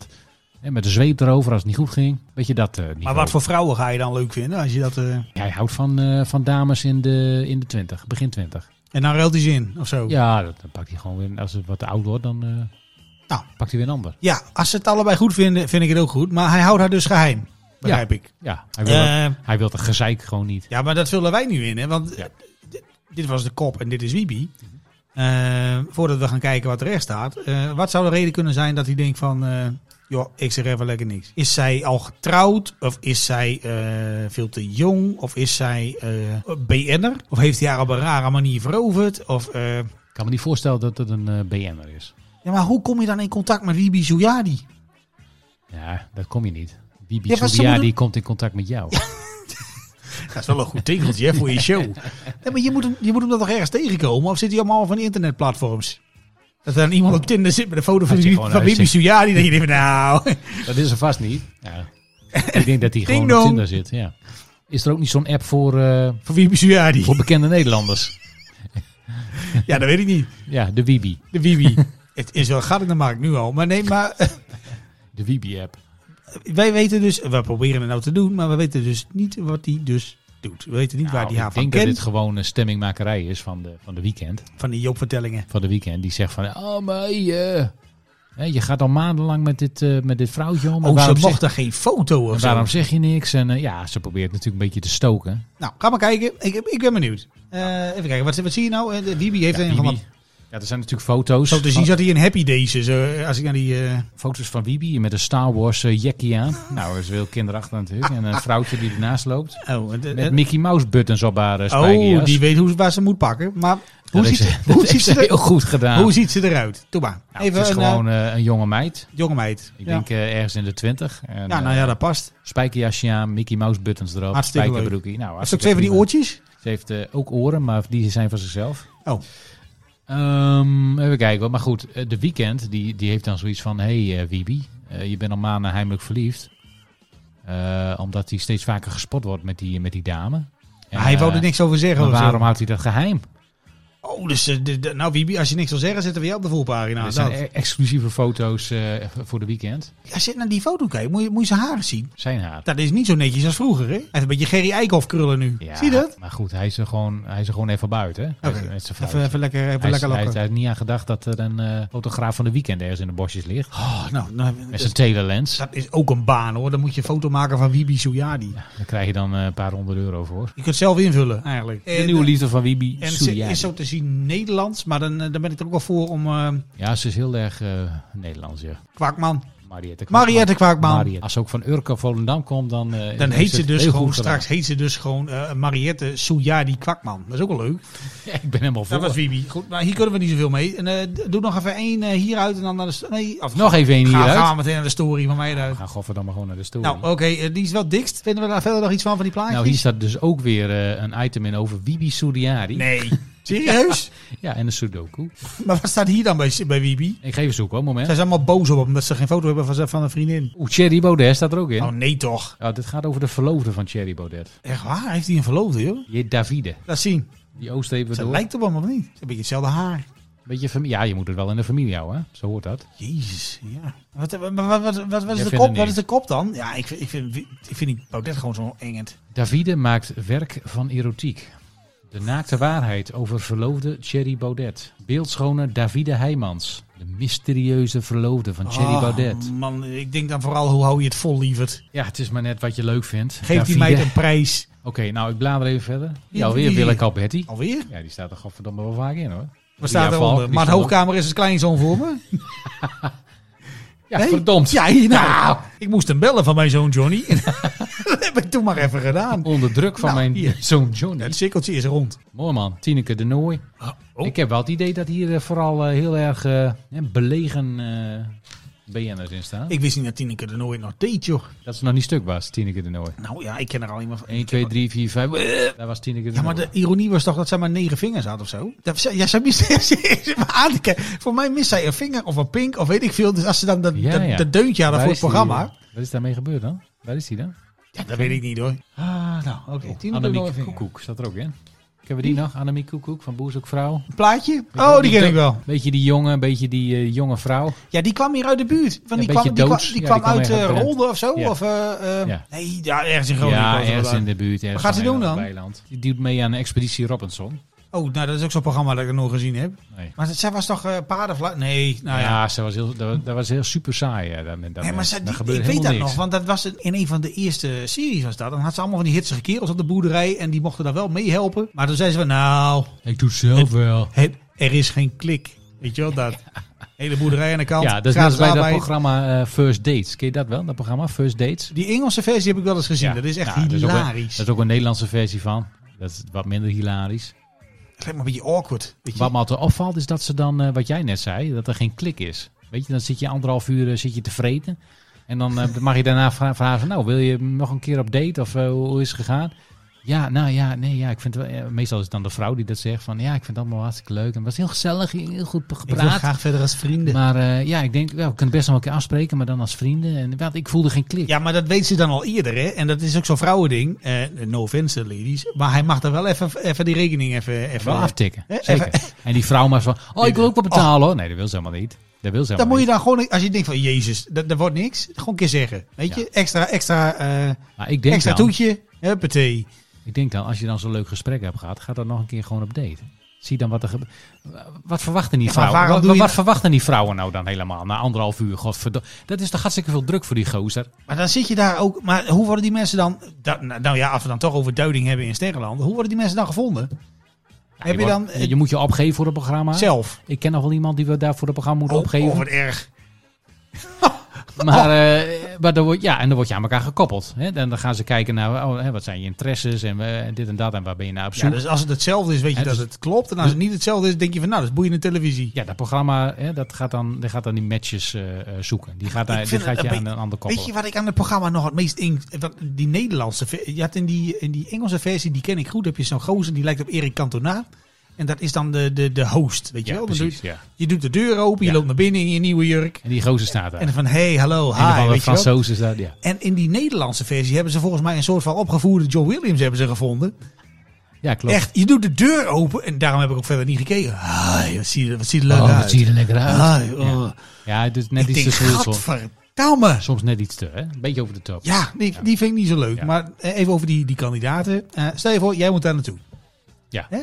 [SPEAKER 1] Hè, met de zweep erover als het niet goed ging. Weet je dat eh niet.
[SPEAKER 4] Maar wat voor vrouwen ga je dan leuk vinden? Als je dat, eh,
[SPEAKER 1] Hij houdt van, eh, van dames in de, in de 20, begin 20.
[SPEAKER 4] en dan ruilt hij ze in of zo.
[SPEAKER 1] Ja, dat, dan pakt hij gewoon weer. Als het wat te oud wordt, dan eh,
[SPEAKER 4] Nou.
[SPEAKER 1] pakt hij weer een ander.
[SPEAKER 4] Ja, als ze het allebei goed vinden, vind ik het ook goed. Maar hij houdt haar dus geheim. Begrijp ik.
[SPEAKER 1] Ja, hij wil, dat,
[SPEAKER 4] Eh,
[SPEAKER 1] hij wil dat gezeik gewoon niet.
[SPEAKER 4] ja, maar dat vullen wij nu in. Hè? Want
[SPEAKER 1] Ja.
[SPEAKER 4] eh, dit- dit was de kop en dit is Wiebe. Eh, voordat we gaan kijken wat er echt staat. eh, wat zou de reden kunnen zijn dat hij denkt van... eh, joh, ik zeg even lekker niks. Is zij al getrouwd? Of is zij eh, veel te jong? Of is zij eh BN'er? Of heeft hij haar op een rare manier veroverd? Of... eh,
[SPEAKER 1] Ik kan me niet voorstellen dat het een eh, BN'er is.
[SPEAKER 4] ja, maar hoe kom je dan in contact met Wiebe Zouyadi?
[SPEAKER 1] Ja, dat kom je niet. Bibi
[SPEAKER 4] Ja, maar ze
[SPEAKER 1] Soubia,
[SPEAKER 4] moeten-
[SPEAKER 1] die komt in contact met jou.
[SPEAKER 4] Dat is wel een goed tegeltje hè, voor je show. Nee, maar je moet, hem, je moet hem dan toch ergens tegenkomen? Of zit hij allemaal van die internetplatforms? Dat er dan iemand op Tinder zit met een foto van,
[SPEAKER 1] je
[SPEAKER 4] die-
[SPEAKER 1] gewoon
[SPEAKER 4] van Bibi
[SPEAKER 1] uitziet.
[SPEAKER 4] Sujari. Dat je denkt, van, nou...
[SPEAKER 1] Dat is er vast niet. Ja. Ik denk dat hij
[SPEAKER 4] Ding
[SPEAKER 1] gewoon op
[SPEAKER 4] dong.
[SPEAKER 1] Tinder zit. Ja. Is er ook niet zo'n app voor, eh,
[SPEAKER 4] Van Bibi Sujari.
[SPEAKER 1] voor bekende Nederlanders?
[SPEAKER 4] Ja, dat weet ik niet.
[SPEAKER 1] Ja, de Wibi.
[SPEAKER 4] De Bibi. Het is wel gat in de markt nu al. Maar nee, maar eh,
[SPEAKER 1] De Wibi-app.
[SPEAKER 4] wij weten dus... We proberen het nou te doen, maar we weten dus niet wat hij dus doet. We weten niet waar
[SPEAKER 1] Nou,
[SPEAKER 4] hij haar
[SPEAKER 1] ik
[SPEAKER 4] van
[SPEAKER 1] denk dat dit
[SPEAKER 4] kent.
[SPEAKER 1] gewoon een stemmingmakerij is van de, van de weekend.
[SPEAKER 4] Van die Joop-vertellingen.
[SPEAKER 1] Van de weekend. Die zegt van, oh maar je, hè, je gaat al maandenlang met dit, eh, met dit vrouwtje om. en
[SPEAKER 4] Oh, ze
[SPEAKER 1] waarom
[SPEAKER 4] mocht
[SPEAKER 1] zeg,
[SPEAKER 4] er geen foto
[SPEAKER 1] en
[SPEAKER 4] of zo.
[SPEAKER 1] waarom zeg je niks? En eh, ja, ze probeert natuurlijk een beetje te stoken.
[SPEAKER 4] Nou, ga maar kijken. Ik, ik ben benieuwd. Eh, even kijken, wat, wat zie je nou? Eh, de Bibi heeft
[SPEAKER 1] Ja,
[SPEAKER 4] een van
[SPEAKER 1] Wiebe. ja, er zijn natuurlijk foto's.
[SPEAKER 4] Zo te zien zat hij in Happy Days. Dus, eh, als ik naar die... eh,
[SPEAKER 1] Foto's van Wibi met een Star Wars eh, jackie aan. Nou, dat is heel kinderachtig natuurlijk. En een vrouwtje die ernaast loopt.
[SPEAKER 4] oh, de-
[SPEAKER 1] Met
[SPEAKER 4] de-
[SPEAKER 1] Mickey Mouse buttons op haar eh,
[SPEAKER 4] oh,
[SPEAKER 1] spijkerjas.
[SPEAKER 4] die weet hoe, waar ze moet pakken. Maar
[SPEAKER 1] Dat
[SPEAKER 4] hoe, ziet
[SPEAKER 1] heeft
[SPEAKER 4] ze,
[SPEAKER 1] ze- dat
[SPEAKER 4] hoe, ziet
[SPEAKER 1] heeft
[SPEAKER 4] ze
[SPEAKER 1] ze heel
[SPEAKER 4] er,
[SPEAKER 1] goed gedaan.
[SPEAKER 4] hoe ziet ze eruit? Doe maar.
[SPEAKER 1] Nou,
[SPEAKER 4] Even
[SPEAKER 1] het is
[SPEAKER 4] een
[SPEAKER 1] gewoon eh, een jonge meid.
[SPEAKER 4] eh, jonge meid.
[SPEAKER 1] Ik
[SPEAKER 4] ja.
[SPEAKER 1] denk eh, ergens in de twintig. En,
[SPEAKER 4] ja, nou ja, dat past.
[SPEAKER 1] eh, spijkerjasje aan, Mickey Mouse buttons erop,
[SPEAKER 4] Hartstikke leuk.
[SPEAKER 1] spijkerbroekie. Nou,
[SPEAKER 4] Als ik
[SPEAKER 1] hartstikke
[SPEAKER 4] twee van die
[SPEAKER 1] prima.
[SPEAKER 4] oortjes.
[SPEAKER 1] Ze heeft eh, ook oren, maar die zijn van zichzelf.
[SPEAKER 4] Oh.
[SPEAKER 1] Ehm, even kijken. hoor. Maar goed, eh, de weekend die, die heeft dan zoiets van: hé hey, eh, Wiebe, eh, je bent al maanden heimelijk verliefd. Eh, omdat hij steeds vaker gespot wordt met die, met die dame. En,
[SPEAKER 4] hij wou
[SPEAKER 1] eh,
[SPEAKER 4] er niks over zeggen.
[SPEAKER 1] maar
[SPEAKER 4] of zo.
[SPEAKER 1] waarom houdt hij dat geheim?
[SPEAKER 4] Oh, dus eh, de- de- nou Wiebe, als je niks wil zeggen, zitten we jou op de voorpagina. Nou,
[SPEAKER 1] Er zijn
[SPEAKER 4] Dat.
[SPEAKER 1] e- exclusieve foto's eh, voor de weekend.
[SPEAKER 4] Als je naar die foto kijkt, moet je, moet je zijn haren zien.
[SPEAKER 1] Zijn haar.
[SPEAKER 4] Dat is niet zo netjes als vroeger, hè? Hij heeft een beetje Gerry Eikhoff krullen nu.
[SPEAKER 1] Ja,
[SPEAKER 4] Zie je dat?
[SPEAKER 1] Maar goed, hij is er gewoon, hij is er gewoon even buiten. Hè? Hij is
[SPEAKER 4] Oké.
[SPEAKER 1] Met zijn
[SPEAKER 4] Even,
[SPEAKER 1] vrouw.
[SPEAKER 4] even lekker,
[SPEAKER 1] Hij,
[SPEAKER 4] even
[SPEAKER 1] is-
[SPEAKER 4] lekker
[SPEAKER 1] hij,
[SPEAKER 4] lachen.
[SPEAKER 1] heeft- hij heeft niet aan gedacht dat er een eh, fotograaf van de weekend ergens in de bosjes ligt.
[SPEAKER 4] Oh, nou, nou,
[SPEAKER 1] Met zijn telelens.
[SPEAKER 4] dat is ook een baan, hoor. Dan moet je een foto maken van Wiebe Sujadi.
[SPEAKER 1] Daar krijg je dan eh, een paar honderd euro voor.
[SPEAKER 4] Je kunt zelf invullen, eigenlijk.
[SPEAKER 1] De nieuwe liefde van Wibi
[SPEAKER 4] eh, En ze
[SPEAKER 1] Suriani.
[SPEAKER 4] is zo te zien Nederlands, maar dan, eh, dan ben ik er ook wel voor om eh,
[SPEAKER 1] Ja, ze is heel erg eh, Nederlands, ja.
[SPEAKER 4] Kwakman.
[SPEAKER 1] Mariette Kwakman.
[SPEAKER 4] Mariette Kwakman.
[SPEAKER 1] Mariette. Als ze ook van Urca Volendam komt, dan... eh,
[SPEAKER 4] Dan
[SPEAKER 1] is
[SPEAKER 4] heet ze
[SPEAKER 1] het
[SPEAKER 4] dus
[SPEAKER 1] heel
[SPEAKER 4] gewoon,
[SPEAKER 1] goed gedaan.
[SPEAKER 4] straks heet ze dus gewoon eh, Mariette Soujadi Kwakman. Dat is ook wel leuk.
[SPEAKER 1] Ik ben helemaal voor.
[SPEAKER 4] Nou, Dat was Wibi. Goed, maar hier kunnen we niet zoveel mee. En, eh, d- doe nog even één eh, hieruit en dan naar de... sto- Nee, of
[SPEAKER 1] Nog even één
[SPEAKER 4] ga,
[SPEAKER 1] hieruit.
[SPEAKER 4] Gaan we meteen naar de story van mij
[SPEAKER 1] We
[SPEAKER 4] eruit.
[SPEAKER 1] gaan godverdamme Nou, gewoon naar de stoel.
[SPEAKER 4] Nou, oké, eh, die is wel dikst. Vinden we daar verder nog iets van, van die plaatjes?
[SPEAKER 1] nou, hier staat dus ook weer eh, een item in over Wibi Suriani.
[SPEAKER 4] Nee. Serieus?
[SPEAKER 1] Ja, en een Sudoku.
[SPEAKER 4] Maar wat staat hier dan bij, bij Wibi?
[SPEAKER 1] Ik geef eens zoeken, hoor, moment.
[SPEAKER 4] Zij zijn allemaal boos op hem omdat ze geen foto hebben van, zijn- van een vriendin.
[SPEAKER 1] Oeh, Thierry Baudet staat er ook in.
[SPEAKER 4] Oh nee toch.
[SPEAKER 1] Ja, dit gaat over de verloofde van Thierry Baudet.
[SPEAKER 4] Echt waar? Heeft hij een verloofde, joh?
[SPEAKER 1] Je Davide.
[SPEAKER 4] Laat zien.
[SPEAKER 1] Die oost even
[SPEAKER 4] Ze
[SPEAKER 1] door.
[SPEAKER 4] lijkt op hem of niet? Ze hebben een beetje hetzelfde haar.
[SPEAKER 1] Beetje fami- ja, je moet het wel in de familie houden, hè? Zo hoort dat.
[SPEAKER 4] Jezus, ja. Wat, wat, wat, wat, wat,
[SPEAKER 1] Jij
[SPEAKER 4] is, de
[SPEAKER 1] vindt het
[SPEAKER 4] kop,
[SPEAKER 1] niet.
[SPEAKER 4] wat is de kop dan? Ja, ik, vind- ik vind, ik vind die Baudet gewoon zo engend.
[SPEAKER 1] Davide maakt werk van erotiek. De naakte waarheid over verloofde Thierry Baudet. Beeldschone Davide Heijmans. De mysterieuze verloofde van Thierry
[SPEAKER 4] Oh,
[SPEAKER 1] Baudet.
[SPEAKER 4] Man, ik denk dan vooral hoe hou je het vol, lieverd.
[SPEAKER 1] Ja, het is maar net wat je leuk vindt.
[SPEAKER 4] Geef die
[SPEAKER 1] Davide-
[SPEAKER 4] meid een prijs.
[SPEAKER 1] Oké, nou ik blader even verder.
[SPEAKER 4] Wie-
[SPEAKER 1] Ja, alweer
[SPEAKER 4] wie-
[SPEAKER 1] Willeke Alberti.
[SPEAKER 4] Alweer?
[SPEAKER 1] Ja, die staat er godverdomme wel vaak in hoor.
[SPEAKER 4] Wat staat
[SPEAKER 1] Ria Valk,
[SPEAKER 4] eronder?
[SPEAKER 1] die
[SPEAKER 4] Maar de
[SPEAKER 1] staat
[SPEAKER 4] hoogkamer is een kleinzoon voor me.
[SPEAKER 1] ook- Ja,
[SPEAKER 4] Nee?
[SPEAKER 1] verdomd.
[SPEAKER 4] Ja, hier, nou. Ik moest hem bellen van mijn zoon Johnny. dat heb ik toen maar even gedaan.
[SPEAKER 1] Onder druk van
[SPEAKER 4] Nou,
[SPEAKER 1] mijn
[SPEAKER 4] hier.
[SPEAKER 1] zoon Johnny.
[SPEAKER 4] Het cirkeltje is rond.
[SPEAKER 1] Mooi man, Tineke de Nooi.
[SPEAKER 4] oh.
[SPEAKER 1] Ik heb wel het idee dat hier eh, vooral eh, heel erg eh, hè, belegen eh BN'ers in staan.
[SPEAKER 4] Ik wist niet dat Tineke er nooit nog deed, joh.
[SPEAKER 1] Dat ze nog niet stuk was, Tineke de Nooi.
[SPEAKER 4] Nou ja, ik ken er alleen maar van.
[SPEAKER 1] 1, 2, 3, 4, 5. eh, Daar was Tineke de
[SPEAKER 4] Ja, maar
[SPEAKER 1] Nooi.
[SPEAKER 4] de ironie was toch dat zij maar negen vingers had of zo? Dat, zij- ja, zij miste ze is maar aan te kijken. Voor mij mist zij een vinger of een pink of weet ik veel. Dus als ze dan dat,
[SPEAKER 1] Ja,
[SPEAKER 4] dat,
[SPEAKER 1] ja.
[SPEAKER 4] dat deuntje hadden
[SPEAKER 1] Waar
[SPEAKER 4] voor
[SPEAKER 1] is
[SPEAKER 4] het
[SPEAKER 1] die,
[SPEAKER 4] programma.
[SPEAKER 1] eh, Wat is daarmee gebeurd dan? Waar is die dan?
[SPEAKER 4] Ja, dat weet ik niet hoor. Ah, nou, oké.
[SPEAKER 1] Annemiek Koekoek staat er ook in. Hebben we die nog? Annemie Koekoek van Boerzoekvrouw.
[SPEAKER 4] Een plaatje?
[SPEAKER 1] je wel,
[SPEAKER 4] Oh, die
[SPEAKER 1] die
[SPEAKER 4] ken ik
[SPEAKER 1] to-
[SPEAKER 4] wel.
[SPEAKER 1] Beetje die jonge, beetje die eh, jonge vrouw.
[SPEAKER 4] Ja, die kwam hier uit de buurt.
[SPEAKER 1] Ja,
[SPEAKER 4] Want
[SPEAKER 1] beetje
[SPEAKER 4] die, kwam, die, kwam,
[SPEAKER 1] doods.
[SPEAKER 4] die
[SPEAKER 1] Ja,
[SPEAKER 4] kwam
[SPEAKER 1] die kwam
[SPEAKER 4] uit
[SPEAKER 1] ergens
[SPEAKER 4] eh,
[SPEAKER 1] uit Drenthe.
[SPEAKER 4] Rolde of zo?
[SPEAKER 1] Ja.
[SPEAKER 4] Of, eh, eh,
[SPEAKER 1] Ja.
[SPEAKER 4] Nee, ja, ergens in Groningen.
[SPEAKER 1] Ja,
[SPEAKER 4] Oh, was het
[SPEAKER 1] ergens
[SPEAKER 4] wel.
[SPEAKER 1] in de buurt. ergens
[SPEAKER 4] gaat ze
[SPEAKER 1] van een
[SPEAKER 4] doen
[SPEAKER 1] of
[SPEAKER 4] dan?
[SPEAKER 1] ander Weiland. Die doet mee aan Expeditie Robinson.
[SPEAKER 4] Oh, nou, dat is ook zo'n programma dat ik nog gezien heb.
[SPEAKER 1] Nee.
[SPEAKER 4] Maar dat- zij was toch paarden paardenvla... Nee, nou ja.
[SPEAKER 1] ja, ze was heel, dat, dat was heel super saai. eh, Dat, dat,
[SPEAKER 4] Nee, maar
[SPEAKER 1] daar
[SPEAKER 4] ze, die-
[SPEAKER 1] gebeurde
[SPEAKER 4] ik weet dat
[SPEAKER 1] helemaal
[SPEAKER 4] nog,
[SPEAKER 1] niks.
[SPEAKER 4] want dat was het- in een van de eerste series was dat. Dan had ze allemaal van die hitsige kerels op de boerderij en die mochten daar wel meehelpen. Maar toen zei ze van, nou,
[SPEAKER 1] Ik doe het zelf wel.
[SPEAKER 4] het, er is geen klik. Weet je wel, dat. Hele boerderij aan de kant.
[SPEAKER 1] Ja, dat is net
[SPEAKER 4] gratis
[SPEAKER 1] als bij dat
[SPEAKER 4] arbeid.
[SPEAKER 1] programma eh, First Dates. Ken je dat wel, dat programma First Dates?
[SPEAKER 4] Die Engelse versie heb ik wel eens gezien.
[SPEAKER 1] Ja.
[SPEAKER 4] Dat is echt
[SPEAKER 1] Ja, dat is ook wel-
[SPEAKER 4] hilarisch.
[SPEAKER 1] Dat is ook een Nederlandse versie van. Dat is wat minder hilarisch.
[SPEAKER 4] Het lijkt me een beetje awkward. Weet je?
[SPEAKER 1] Wat me altijd opvalt is dat ze dan, eh, wat jij net zei, dat er geen klik is. Weet je, dan zit je anderhalf uur eh, zit je te vreten. En dan eh, mag je daarna vra- vragen, nou wil je nog een keer op date of eh, hoe hoe is het gegaan? Ja, nou ja, nee, ja, ik vind het wel, ja, meestal is het dan de vrouw die dat zegt van, ja, ik vind het allemaal hartstikke leuk en het was heel gezellig, heel goed
[SPEAKER 4] ik wil
[SPEAKER 1] gepraat.
[SPEAKER 4] graag verder als vrienden.
[SPEAKER 1] Maar eh, ja, ik denk, ja, we kunnen best nog een keer afspreken, maar dan als vrienden. En wat, ik voelde geen klik.
[SPEAKER 4] Ja, maar dat weet ze dan al eerder, hè? En dat is ook zo'n vrouwending. Eh no offense, ladies. Maar hij mag dan wel even, even die rekening even... even
[SPEAKER 1] Wel aftikken,
[SPEAKER 4] Eh,
[SPEAKER 1] zeker. En die vrouw maar zo oh, ik wil ook wat betalen hoor. Nee, dat wil ze helemaal niet. Dat wil ze
[SPEAKER 4] Dan
[SPEAKER 1] helemaal
[SPEAKER 4] moet je
[SPEAKER 1] niet.
[SPEAKER 4] dan gewoon, als je denkt van Jezus, dat, dat wordt niks, gewoon een keer zeggen. Weet je, extra, extra, eh,
[SPEAKER 1] Maar ik denk
[SPEAKER 4] extra
[SPEAKER 1] dan,
[SPEAKER 4] toetje. Huppatee.
[SPEAKER 1] Ik denk dan, als je dan zo'n leuk gesprek hebt gehad, ga dan nog een keer gewoon op date. Zie dan wat er gebe- Wat verwachten die
[SPEAKER 4] Ja, maar
[SPEAKER 1] vrouwen?
[SPEAKER 4] waarom
[SPEAKER 1] wat,
[SPEAKER 4] doe je
[SPEAKER 1] wat
[SPEAKER 4] dat?
[SPEAKER 1] verwachten die vrouwen nou dan helemaal na anderhalf uur? Godverdomme. Dat is toch hartstikke veel druk voor die gozer.
[SPEAKER 4] Maar dan zit je daar ook, maar hoe worden die mensen dan, dat, nou nou ja, als we dan toch over duiding hebben in Sterrenland, hoe worden die mensen dan gevonden? Heb je dan
[SPEAKER 1] wordt-
[SPEAKER 4] eh,
[SPEAKER 1] je moet je opgeven voor het programma.
[SPEAKER 4] zelf?
[SPEAKER 1] Ik ken nog wel iemand die we daar voor het programma moeten
[SPEAKER 4] Oh,
[SPEAKER 1] opgeven.
[SPEAKER 4] oh, wat erg.
[SPEAKER 1] Maar, eh, maar dan word, ja, en dan word je aan elkaar gekoppeld. Hè? En dan gaan ze kijken naar oh, hè, wat zijn je interesses en eh, dit en dat en waar ben je naar op zoek.
[SPEAKER 4] Ja, dus als het hetzelfde is, weet je
[SPEAKER 1] Ja,
[SPEAKER 4] dat
[SPEAKER 1] dus-
[SPEAKER 4] het klopt. En als het niet hetzelfde is, denk je van, nou, dat is boeiende televisie.
[SPEAKER 1] Ja, dat programma hè, dat gaat, dan, die gaat dan die matches eh, eh, zoeken. Die gaat, daar,
[SPEAKER 4] Ik
[SPEAKER 1] die
[SPEAKER 4] vind
[SPEAKER 1] gaat
[SPEAKER 4] het
[SPEAKER 1] je
[SPEAKER 4] een
[SPEAKER 1] aan
[SPEAKER 4] be-
[SPEAKER 1] een ander koppelen.
[SPEAKER 4] Weet je wat ik aan het programma nog het meest eng... wat- Die Nederlandse... ver- Je hebt in die, in die Engelse versie, die ken ik goed, heb je zo'n gozer die lijkt op Erik Cantona. En dat is dan de, de, de host, weet je
[SPEAKER 1] ja,
[SPEAKER 4] wel? Dan doe
[SPEAKER 1] precies.
[SPEAKER 4] je,
[SPEAKER 1] Ja.
[SPEAKER 4] je doet de deur open, je
[SPEAKER 1] Ja.
[SPEAKER 4] loopt naar binnen in je nieuwe jurk.
[SPEAKER 1] En die gozer staat daar.
[SPEAKER 4] En dan van, hey, hallo,
[SPEAKER 1] een of
[SPEAKER 4] hi,
[SPEAKER 1] andere
[SPEAKER 4] weet je wel?
[SPEAKER 1] Fransoos is dat, ja.
[SPEAKER 4] En in die Nederlandse versie hebben ze volgens mij een soort van opgevoerde John Williams hebben ze gevonden.
[SPEAKER 1] Ja, klopt.
[SPEAKER 4] Echt, je doet de deur open en daarom heb ik ook verder niet gekeken. Hi, wat zie je, wat ziet er leuk
[SPEAKER 1] Oh, wat
[SPEAKER 4] uit.
[SPEAKER 1] zie je er lekker uit.
[SPEAKER 4] Hi, oh.
[SPEAKER 1] Ja. Ja, het is dus net
[SPEAKER 4] eh, Ik
[SPEAKER 1] iets te
[SPEAKER 4] denk,
[SPEAKER 1] veel soms.
[SPEAKER 4] gadverdamme.
[SPEAKER 1] Soms net iets te, hè? Een beetje over de top.
[SPEAKER 4] Ja, die, die vind ik niet zo leuk.
[SPEAKER 1] Ja.
[SPEAKER 4] Maar eh, even over die, die kandidaten. Eh, stel je voor, jij moet daar naartoe.
[SPEAKER 1] Ja.
[SPEAKER 4] Hè?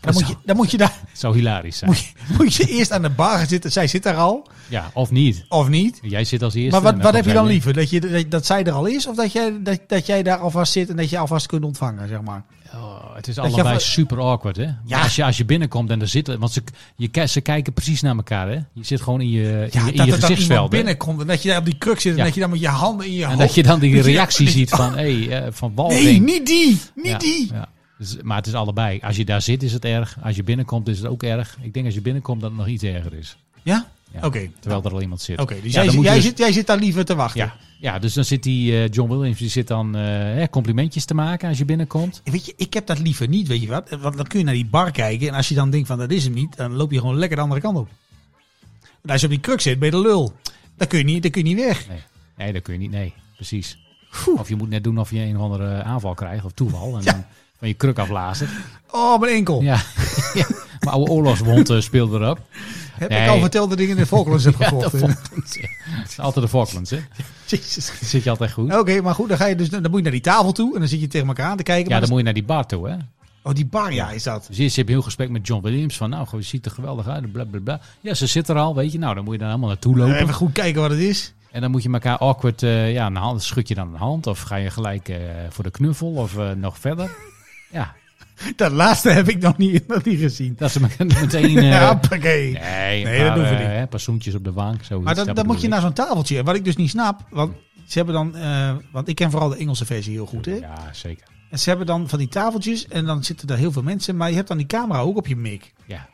[SPEAKER 4] Dan, moet
[SPEAKER 1] zou-
[SPEAKER 4] je, dan moet je daar
[SPEAKER 1] Het zou hilarisch zijn.
[SPEAKER 4] moet je, moet je eerst aan de bar gaan zitten. Zij zit daar al,
[SPEAKER 1] Ja, of niet.
[SPEAKER 4] of niet.
[SPEAKER 1] Jij zit als eerste.
[SPEAKER 4] Maar wat,
[SPEAKER 1] en
[SPEAKER 4] wat heb je
[SPEAKER 1] komt
[SPEAKER 4] dan
[SPEAKER 1] zij
[SPEAKER 4] liever? Dat, je, dat, dat zij er al is of dat jij, dat, dat jij daar alvast zit en dat je alvast kunt ontvangen, zeg maar?
[SPEAKER 1] weer. Oh, het is
[SPEAKER 4] je
[SPEAKER 1] allebei
[SPEAKER 4] van-
[SPEAKER 1] super awkward, hè?
[SPEAKER 4] Ja.
[SPEAKER 1] Ja. Als, je, als je binnenkomt en er zitten... Want ze, je, ki- ze kijken precies naar elkaar, hè? Je zit gewoon in je, in je, in
[SPEAKER 4] dat
[SPEAKER 1] je
[SPEAKER 4] er dan iemand
[SPEAKER 1] gezichtsveld, hè?
[SPEAKER 4] binnenkomt en dat je daar op die kruk zit en
[SPEAKER 1] Ja.
[SPEAKER 4] dat je dan met je handen in je
[SPEAKER 1] En
[SPEAKER 4] hoofd...
[SPEAKER 1] dat je dan die
[SPEAKER 4] dat je-
[SPEAKER 1] reactie
[SPEAKER 4] dat je-
[SPEAKER 1] ziet van... Hé, eh, van Walving.
[SPEAKER 4] Oh, Nee, niet die! Niet
[SPEAKER 1] Ja,
[SPEAKER 4] die!
[SPEAKER 1] ja. Dus- maar het is allebei. Als je daar zit is het erg. Als je binnenkomt is het ook erg. Ik denk als je binnenkomt dat het nog iets erger is.
[SPEAKER 4] Ja?
[SPEAKER 1] Ja,
[SPEAKER 4] Oké.
[SPEAKER 1] Terwijl er al iemand zit.
[SPEAKER 4] Oké,
[SPEAKER 1] Ja,
[SPEAKER 4] dus jij,
[SPEAKER 1] dan
[SPEAKER 4] zit-
[SPEAKER 1] moet je
[SPEAKER 4] jij,
[SPEAKER 1] dus-
[SPEAKER 4] zit, jij zit daar liever te wachten.
[SPEAKER 1] Ja. ja, dus dan zit die eh, John Williams die zit dan eh, hè, complimentjes te maken als je binnenkomt.
[SPEAKER 4] Weet je, ik heb dat liever niet, weet je wat? Want dan kun je naar die bar kijken en als je dan denkt van dat is hem niet, dan loop je gewoon lekker de andere kant op. En als je op die kruk zit, ben je de lul. Dan kun je niet, dan kun je niet weg.
[SPEAKER 1] Nee, nee dat kun je niet. Nee, precies.
[SPEAKER 4] Phew.
[SPEAKER 1] Of je moet net doen of je een of andere eh, aanval krijgt of toeval. En
[SPEAKER 4] Ja.
[SPEAKER 1] dan van je kruk afblazen.
[SPEAKER 4] Oh, mijn enkel.
[SPEAKER 1] Ja. ja, mijn oude oorlogswond eh, speelde erop.
[SPEAKER 4] Heb ik
[SPEAKER 1] Nee.
[SPEAKER 4] al verteld dat ik in de Falklands heb gevochten.
[SPEAKER 1] Altijd de Falklands, hè?
[SPEAKER 4] Jezus.
[SPEAKER 1] Dan zit je altijd goed.
[SPEAKER 4] Oké, maar goed, dan, ga je dus, dan moet je naar die tafel toe en dan zit je tegen elkaar aan te kijken.
[SPEAKER 1] Ja,
[SPEAKER 4] maar
[SPEAKER 1] dan moet je naar die bar toe, hè?
[SPEAKER 4] dat is- Oh, die bar, ja, is dat.
[SPEAKER 1] Dus eerst heb je heel gesprek met John Williams van, nou, je ziet er geweldig uit, bla bla bla. Ja, ze zit er al, weet je. Nou, dan moet je daar helemaal naartoe lopen.
[SPEAKER 4] Even goed kijken wat het is.
[SPEAKER 1] En dan moet je elkaar awkward, eh, ja, een hand, schud je dan een hand of ga je gelijk eh, voor de knuffel of eh, nog verder. Ja,
[SPEAKER 4] Dat laatste heb ik nog niet, nog niet gezien.
[SPEAKER 1] dat ze met- meteen... eh,
[SPEAKER 4] Ja, hoppakee.
[SPEAKER 1] nee,
[SPEAKER 4] Nee, dat
[SPEAKER 1] dat
[SPEAKER 4] doen we
[SPEAKER 1] doen
[SPEAKER 4] niet.
[SPEAKER 1] op de bank, zoiets.
[SPEAKER 4] Maar dan, dan moet je
[SPEAKER 1] bedoel
[SPEAKER 4] naar zo'n tafeltje. En Wat ik dus niet snap, want ze hebben dan, eh, want ik ken vooral de Engelse versie heel goed, hè?
[SPEAKER 1] ik. Ja, zeker.
[SPEAKER 4] En ze hebben dan van die tafeltjes en dan zitten daar heel veel mensen, maar je hebt dan die camera ook op je mik.
[SPEAKER 1] Ja,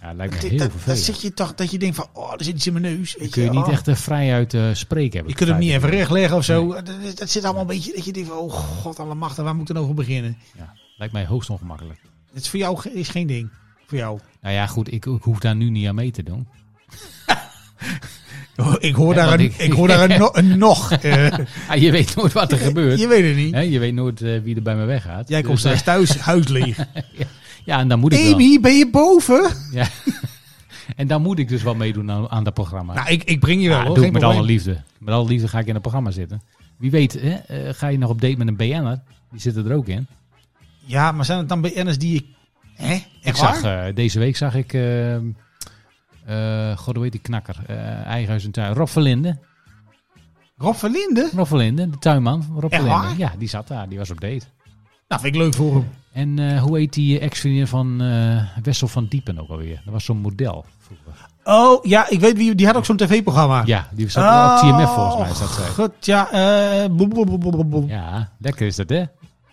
[SPEAKER 1] ja lijkt me
[SPEAKER 4] Dat-
[SPEAKER 1] heel
[SPEAKER 4] dat, dat
[SPEAKER 1] vervelend.
[SPEAKER 4] zit je toch dat je denkt van, oh, er zit iets in mijn neus.
[SPEAKER 1] Dan
[SPEAKER 4] Weet
[SPEAKER 1] kun je niet
[SPEAKER 4] oh.
[SPEAKER 1] echt eh, vrij uit eh, spreken hebben.
[SPEAKER 4] Je kunt hem niet even recht leggen of zo.
[SPEAKER 1] Nee.
[SPEAKER 4] Dat- Dat, dat zit allemaal een beetje dat je denkt van, oh god, allemachtig, waar moet ik dan over beginnen?
[SPEAKER 1] Ja, lijkt mij hoogst ongemakkelijk.
[SPEAKER 4] Het is voor jou ge- is geen ding. Voor jou.
[SPEAKER 1] Nou ja, goed, ik, ik hoef daar nu niet aan mee te doen.
[SPEAKER 4] Oh, ik
[SPEAKER 1] Ja,
[SPEAKER 4] hoor daar,
[SPEAKER 1] want
[SPEAKER 4] een,
[SPEAKER 1] ik-
[SPEAKER 4] ik hoor daar een, no- een nog. eh.
[SPEAKER 1] Ah, je weet nooit wat er gebeurt.
[SPEAKER 4] je weet het niet.
[SPEAKER 1] Hè, je weet nooit eh, wie er bij me weggaat.
[SPEAKER 4] Jij komt
[SPEAKER 1] Dus, eh,
[SPEAKER 4] straks thuis, huis leeg.
[SPEAKER 1] Ja, en dan moet ik wel.
[SPEAKER 4] Amy, ben je boven?
[SPEAKER 1] Ja. en dan moet ik dus wel meedoen aan, aan dat programma.
[SPEAKER 4] Nou, ik, ik breng je wel.
[SPEAKER 1] Ja,
[SPEAKER 4] hoor,
[SPEAKER 1] doe ik
[SPEAKER 4] geen
[SPEAKER 1] met
[SPEAKER 4] probleem.
[SPEAKER 1] alle liefde. Met alle liefde ga ik in het programma zitten. Wie weet, hè, eh, ga je nog op date met een BN'er? Die zitten er ook in.
[SPEAKER 4] Ja, maar zijn het dan BN'ers die ik... Hè? Echt
[SPEAKER 1] Ik
[SPEAKER 4] waar?
[SPEAKER 1] zag, eh, deze week zag ik, eh, eh, god hoe heet die knakker, Eh eigen huis en tuin, Rob Verlinde.
[SPEAKER 4] Rob van Linden?
[SPEAKER 1] Rob Verlinde, de tuinman van Rob
[SPEAKER 4] Echt
[SPEAKER 1] Verlinde.
[SPEAKER 4] waar?
[SPEAKER 1] Ja, die zat daar, die was op date.
[SPEAKER 4] Nou, vind ik leuk voor hem.
[SPEAKER 1] En eh, hoe heet die ex-vriendin van eh, Wessel van Diepen ook alweer? Dat was zo'n model vroeger.
[SPEAKER 4] Oh, ja, ik weet wie... Die had ook zo'n tv-programma. Oh,
[SPEAKER 1] Ja, die zat wel op TMF volgens mij, zat zij.
[SPEAKER 4] God, ja. eh, boem, boem, boem, boem, boem.
[SPEAKER 1] Ja, lekker is dat hè?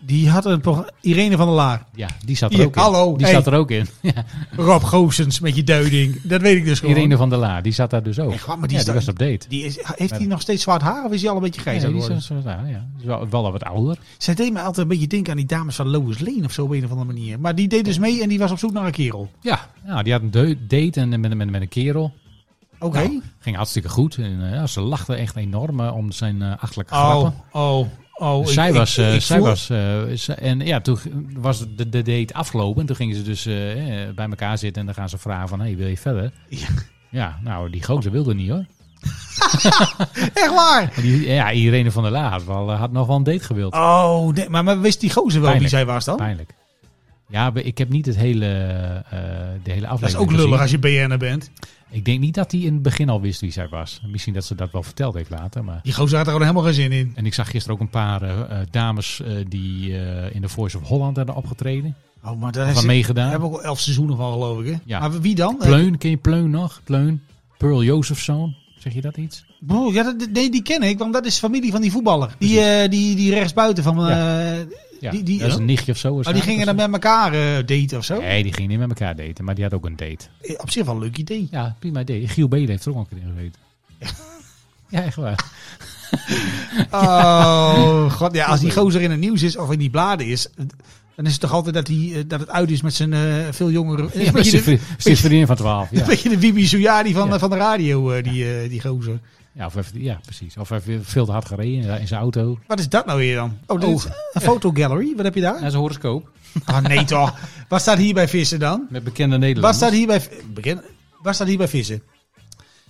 [SPEAKER 4] Die had een programma... Irene van der Laar.
[SPEAKER 1] Ja, die zat er
[SPEAKER 4] Hier,
[SPEAKER 1] ook in.
[SPEAKER 4] hallo,
[SPEAKER 1] Die
[SPEAKER 4] hey.
[SPEAKER 1] zat er ook in. Ja,
[SPEAKER 4] Rob Goossens met je duiding. Dat weet ik dus gewoon.
[SPEAKER 1] Irene van der Laar, die zat daar dus ook.
[SPEAKER 4] Echt waar, maar die
[SPEAKER 1] ja,
[SPEAKER 4] is
[SPEAKER 1] die
[SPEAKER 4] daar-
[SPEAKER 1] was op date.
[SPEAKER 4] Die is, heeft hij nog steeds zwart haar of is hij al een beetje grijs?
[SPEAKER 1] Ja,
[SPEAKER 4] aan
[SPEAKER 1] die
[SPEAKER 4] het
[SPEAKER 1] is
[SPEAKER 4] worden?
[SPEAKER 1] zo- nou, ja, die is wel, wel wat ouder.
[SPEAKER 4] Zij deed me altijd een beetje denken aan die dames van Lois Lane of zo op een of andere manier. Maar die deed dus mee en die was op zoek naar een kerel.
[SPEAKER 1] Ja, nou, die had een deu- date en, met, met, met een kerel.
[SPEAKER 4] Oké.
[SPEAKER 1] Nou, ging hartstikke goed. En, eh, ja, ze lachten echt enorm eh, om zijn eh, achterlijke
[SPEAKER 4] Oh,
[SPEAKER 1] grappen.
[SPEAKER 4] oh, oh.
[SPEAKER 1] Dus zij
[SPEAKER 4] ik-
[SPEAKER 1] was,
[SPEAKER 4] ik-
[SPEAKER 1] eh,
[SPEAKER 4] ik
[SPEAKER 1] zij
[SPEAKER 4] voel-
[SPEAKER 1] was eh, ze- en ja, toen g- was de, de date afgelopen. En toen gingen ze dus eh, eh, bij elkaar zitten en dan gaan ze vragen van, hey, wil je verder?
[SPEAKER 4] Ja.
[SPEAKER 1] Ja, nou, die gozer wilde niet hoor.
[SPEAKER 4] Echt waar?
[SPEAKER 1] En die, ja, Irene van der Laar had, wel, eh, had nog wel een date gewild.
[SPEAKER 4] Oh, nee, maar, maar wist die gozer wel wie
[SPEAKER 1] Pijnlijk.
[SPEAKER 4] zij was dan?
[SPEAKER 1] Pijnlijk. Ja, maar ik heb niet het hele, eh, de hele aflevering
[SPEAKER 4] Dat is ook lullig
[SPEAKER 1] Dus
[SPEAKER 4] als je BN'er bent.
[SPEAKER 1] Ik denk niet dat hij in het begin al wist wie zij was. Misschien dat ze dat wel verteld heeft later, maar...
[SPEAKER 4] Die gozer had er gewoon helemaal geen zin in.
[SPEAKER 1] En ik zag gisteren ook een paar eh, eh, dames eh, die eh, in de Voice of Holland hebben opgetreden.
[SPEAKER 4] Oh, maar daar
[SPEAKER 1] Van
[SPEAKER 4] is-
[SPEAKER 1] meegedaan.
[SPEAKER 4] daar hebben we ook al elf seizoenen van geloof ik. Hè?
[SPEAKER 1] Ja.
[SPEAKER 4] Maar wie dan? Eh,
[SPEAKER 1] Pleun, ken je Pleun nog? Pleun? Pearl Jozefzoon, zeg je dat iets?
[SPEAKER 4] Eh, broer, ja, dat, nee, die ken ik, want dat is familie van die voetballer. Die, eh die, die rechtsbuiten van... eh
[SPEAKER 1] Ja,
[SPEAKER 4] Die- die-
[SPEAKER 1] dat is een nichtje of zo.
[SPEAKER 4] oh, die gingen dan met elkaar eh, daten of zo.
[SPEAKER 1] Nee, die gingen niet met elkaar daten, maar die had ook een date.
[SPEAKER 4] Eh, Op zich wel een leuk idee.
[SPEAKER 1] Ja, prima idee. Giel Belen heeft er ook al een keer in gezeten. Ja, echt waar.
[SPEAKER 4] Oh, god. Ja, als die gozer in het nieuws is of in die bladen is, dan is het toch altijd dat, hij, eh, dat het uit is met zijn eh, veel jongere...
[SPEAKER 1] Ja,
[SPEAKER 4] een, beetje
[SPEAKER 1] precies,
[SPEAKER 4] de,
[SPEAKER 1] precies vriendin van 12.
[SPEAKER 4] een
[SPEAKER 1] Ja,
[SPEAKER 4] beetje de Bibi Sujani van,
[SPEAKER 1] Ja.
[SPEAKER 4] eh, van de radio, eh, die, eh, die gozer.
[SPEAKER 1] ja, of even, ja precies. Of even veel te hard gereden in zijn auto.
[SPEAKER 4] Wat is dat nou weer dan? Oh, dit is een fotogallery. Wat heb je daar?
[SPEAKER 1] Dat is een horoscoop.
[SPEAKER 4] Ah, nee toch. Wat staat hier bij vissen dan?
[SPEAKER 1] Met bekende
[SPEAKER 4] Wat
[SPEAKER 1] Nederlanders.
[SPEAKER 4] staat hier bij, v- begin- wat staat hier bij vissen?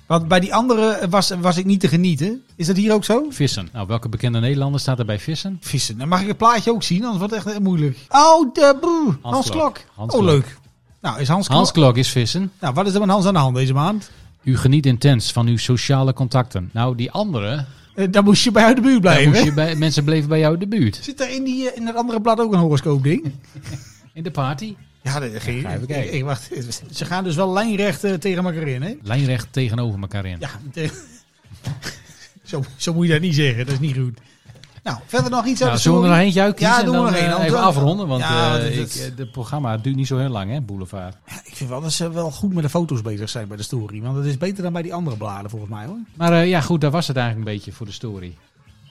[SPEAKER 4] Want bij die andere was, was ik niet te genieten. Is dat hier ook zo?
[SPEAKER 1] Vissen. Nou, welke bekende Nederlander staat er bij vissen?
[SPEAKER 4] Vissen. Dan mag ik het plaatje ook zien, anders wordt het echt eh, moeilijk. Oh, de broer. Hans,
[SPEAKER 1] Hans
[SPEAKER 4] Klok.
[SPEAKER 1] Klok. Hans
[SPEAKER 4] oh,
[SPEAKER 1] Klok.
[SPEAKER 4] leuk. Nou, is Hans Klok...
[SPEAKER 1] Hans Klok is vissen.
[SPEAKER 4] Nou, wat is er met Hans aan de hand deze maand?
[SPEAKER 1] U geniet intens van uw sociale contacten. Nou, die andere,
[SPEAKER 4] Eh, dan moest je bij uit de buurt
[SPEAKER 1] daar
[SPEAKER 4] blijven.
[SPEAKER 1] moest je bij, mensen bleven bij jou in de buurt.
[SPEAKER 4] Zit er in, die, eh, in dat andere blad ook een horoscoopding?
[SPEAKER 1] In de party.
[SPEAKER 4] ja, dat ging.
[SPEAKER 1] even
[SPEAKER 4] ik,
[SPEAKER 1] kijken.
[SPEAKER 4] ik- wacht. Ze gaan dus wel lijnrecht eh, tegen elkaar in, hè?
[SPEAKER 1] Lijnrecht tegenover elkaar in.
[SPEAKER 4] Ja. te- zo, zo moet je dat niet zeggen. Dat is niet goed. Nou, verder nog iets
[SPEAKER 1] Nou,
[SPEAKER 4] uit de
[SPEAKER 1] zullen we
[SPEAKER 4] story?
[SPEAKER 1] er nog eentje uitkiezen?
[SPEAKER 4] Ja,
[SPEAKER 1] en
[SPEAKER 4] doen we
[SPEAKER 1] dan,
[SPEAKER 4] er
[SPEAKER 1] eh,
[SPEAKER 4] een, want
[SPEAKER 1] Even
[SPEAKER 4] we-
[SPEAKER 1] afronden, want
[SPEAKER 4] Ja,
[SPEAKER 1] eh,
[SPEAKER 4] want het-
[SPEAKER 1] ik, eh, de programma duurt niet zo heel lang, hè, Boulevard.
[SPEAKER 4] Ik vind wel dat ze wel goed met de foto's bezig zijn bij de story. Want dat is beter dan bij die andere bladen, volgens mij, hoor.
[SPEAKER 1] Maar eh, ja, goed, daar was het eigenlijk een beetje voor de story.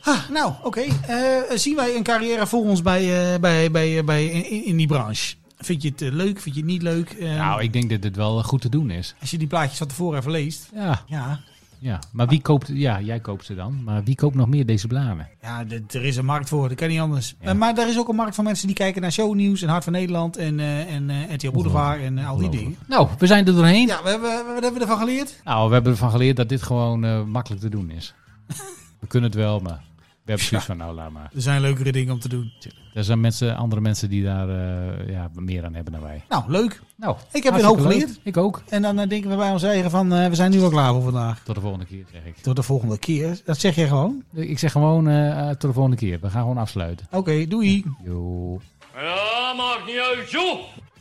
[SPEAKER 4] Ah, nou, oké. Eh, zien wij een carrière voor ons bij, eh, bij, bij, eh, bij, in, in die branche? Vind je het eh, leuk? Vind je het niet leuk? Eh,
[SPEAKER 1] Nou, ik denk dat dit wel eh, goed te doen is.
[SPEAKER 4] Als je die plaatjes van tevoren even leest.
[SPEAKER 1] Ja,
[SPEAKER 4] Ja,
[SPEAKER 1] ja. maar wie koopt... Ja, jij koopt ze dan. Maar wie koopt nog meer deze bladen?
[SPEAKER 4] ja d- er is een markt voor, dat kan niet anders.
[SPEAKER 1] Ja.
[SPEAKER 4] Eh, Maar er is ook een markt van mensen die kijken naar shownieuws en Hart van Nederland en, eh en eh RTL Boulevard en eh, al die dingen.
[SPEAKER 1] Nou, we zijn er doorheen.
[SPEAKER 4] Ja, we hebben, we- wat hebben we ervan geleerd?
[SPEAKER 1] Nou, we hebben ervan geleerd dat dit gewoon eh, makkelijk te doen is. we kunnen het wel, maar we hebben precies van nou, laat maar.
[SPEAKER 4] Er zijn leukere dingen om te doen.
[SPEAKER 1] Er zijn mensen, andere mensen die daar eh, ja, meer aan hebben dan wij.
[SPEAKER 4] Nou, leuk.
[SPEAKER 1] Nou,
[SPEAKER 4] Ik heb weer
[SPEAKER 1] hartstikke
[SPEAKER 4] hoop
[SPEAKER 1] leuk.
[SPEAKER 4] geleerd.
[SPEAKER 1] Ik ook.
[SPEAKER 4] En dan eh, denken we bij ons eigen van, eh, we zijn nu al klaar voor vandaag.
[SPEAKER 1] Tot de volgende keer, zeg ik.
[SPEAKER 4] Tot de volgende keer. Dat zeg je gewoon.
[SPEAKER 1] Ik zeg gewoon eh, tot de volgende keer. We gaan gewoon afsluiten.
[SPEAKER 4] Oké, doei.
[SPEAKER 1] Joe.
[SPEAKER 3] Ja, maakt niet uit, joh.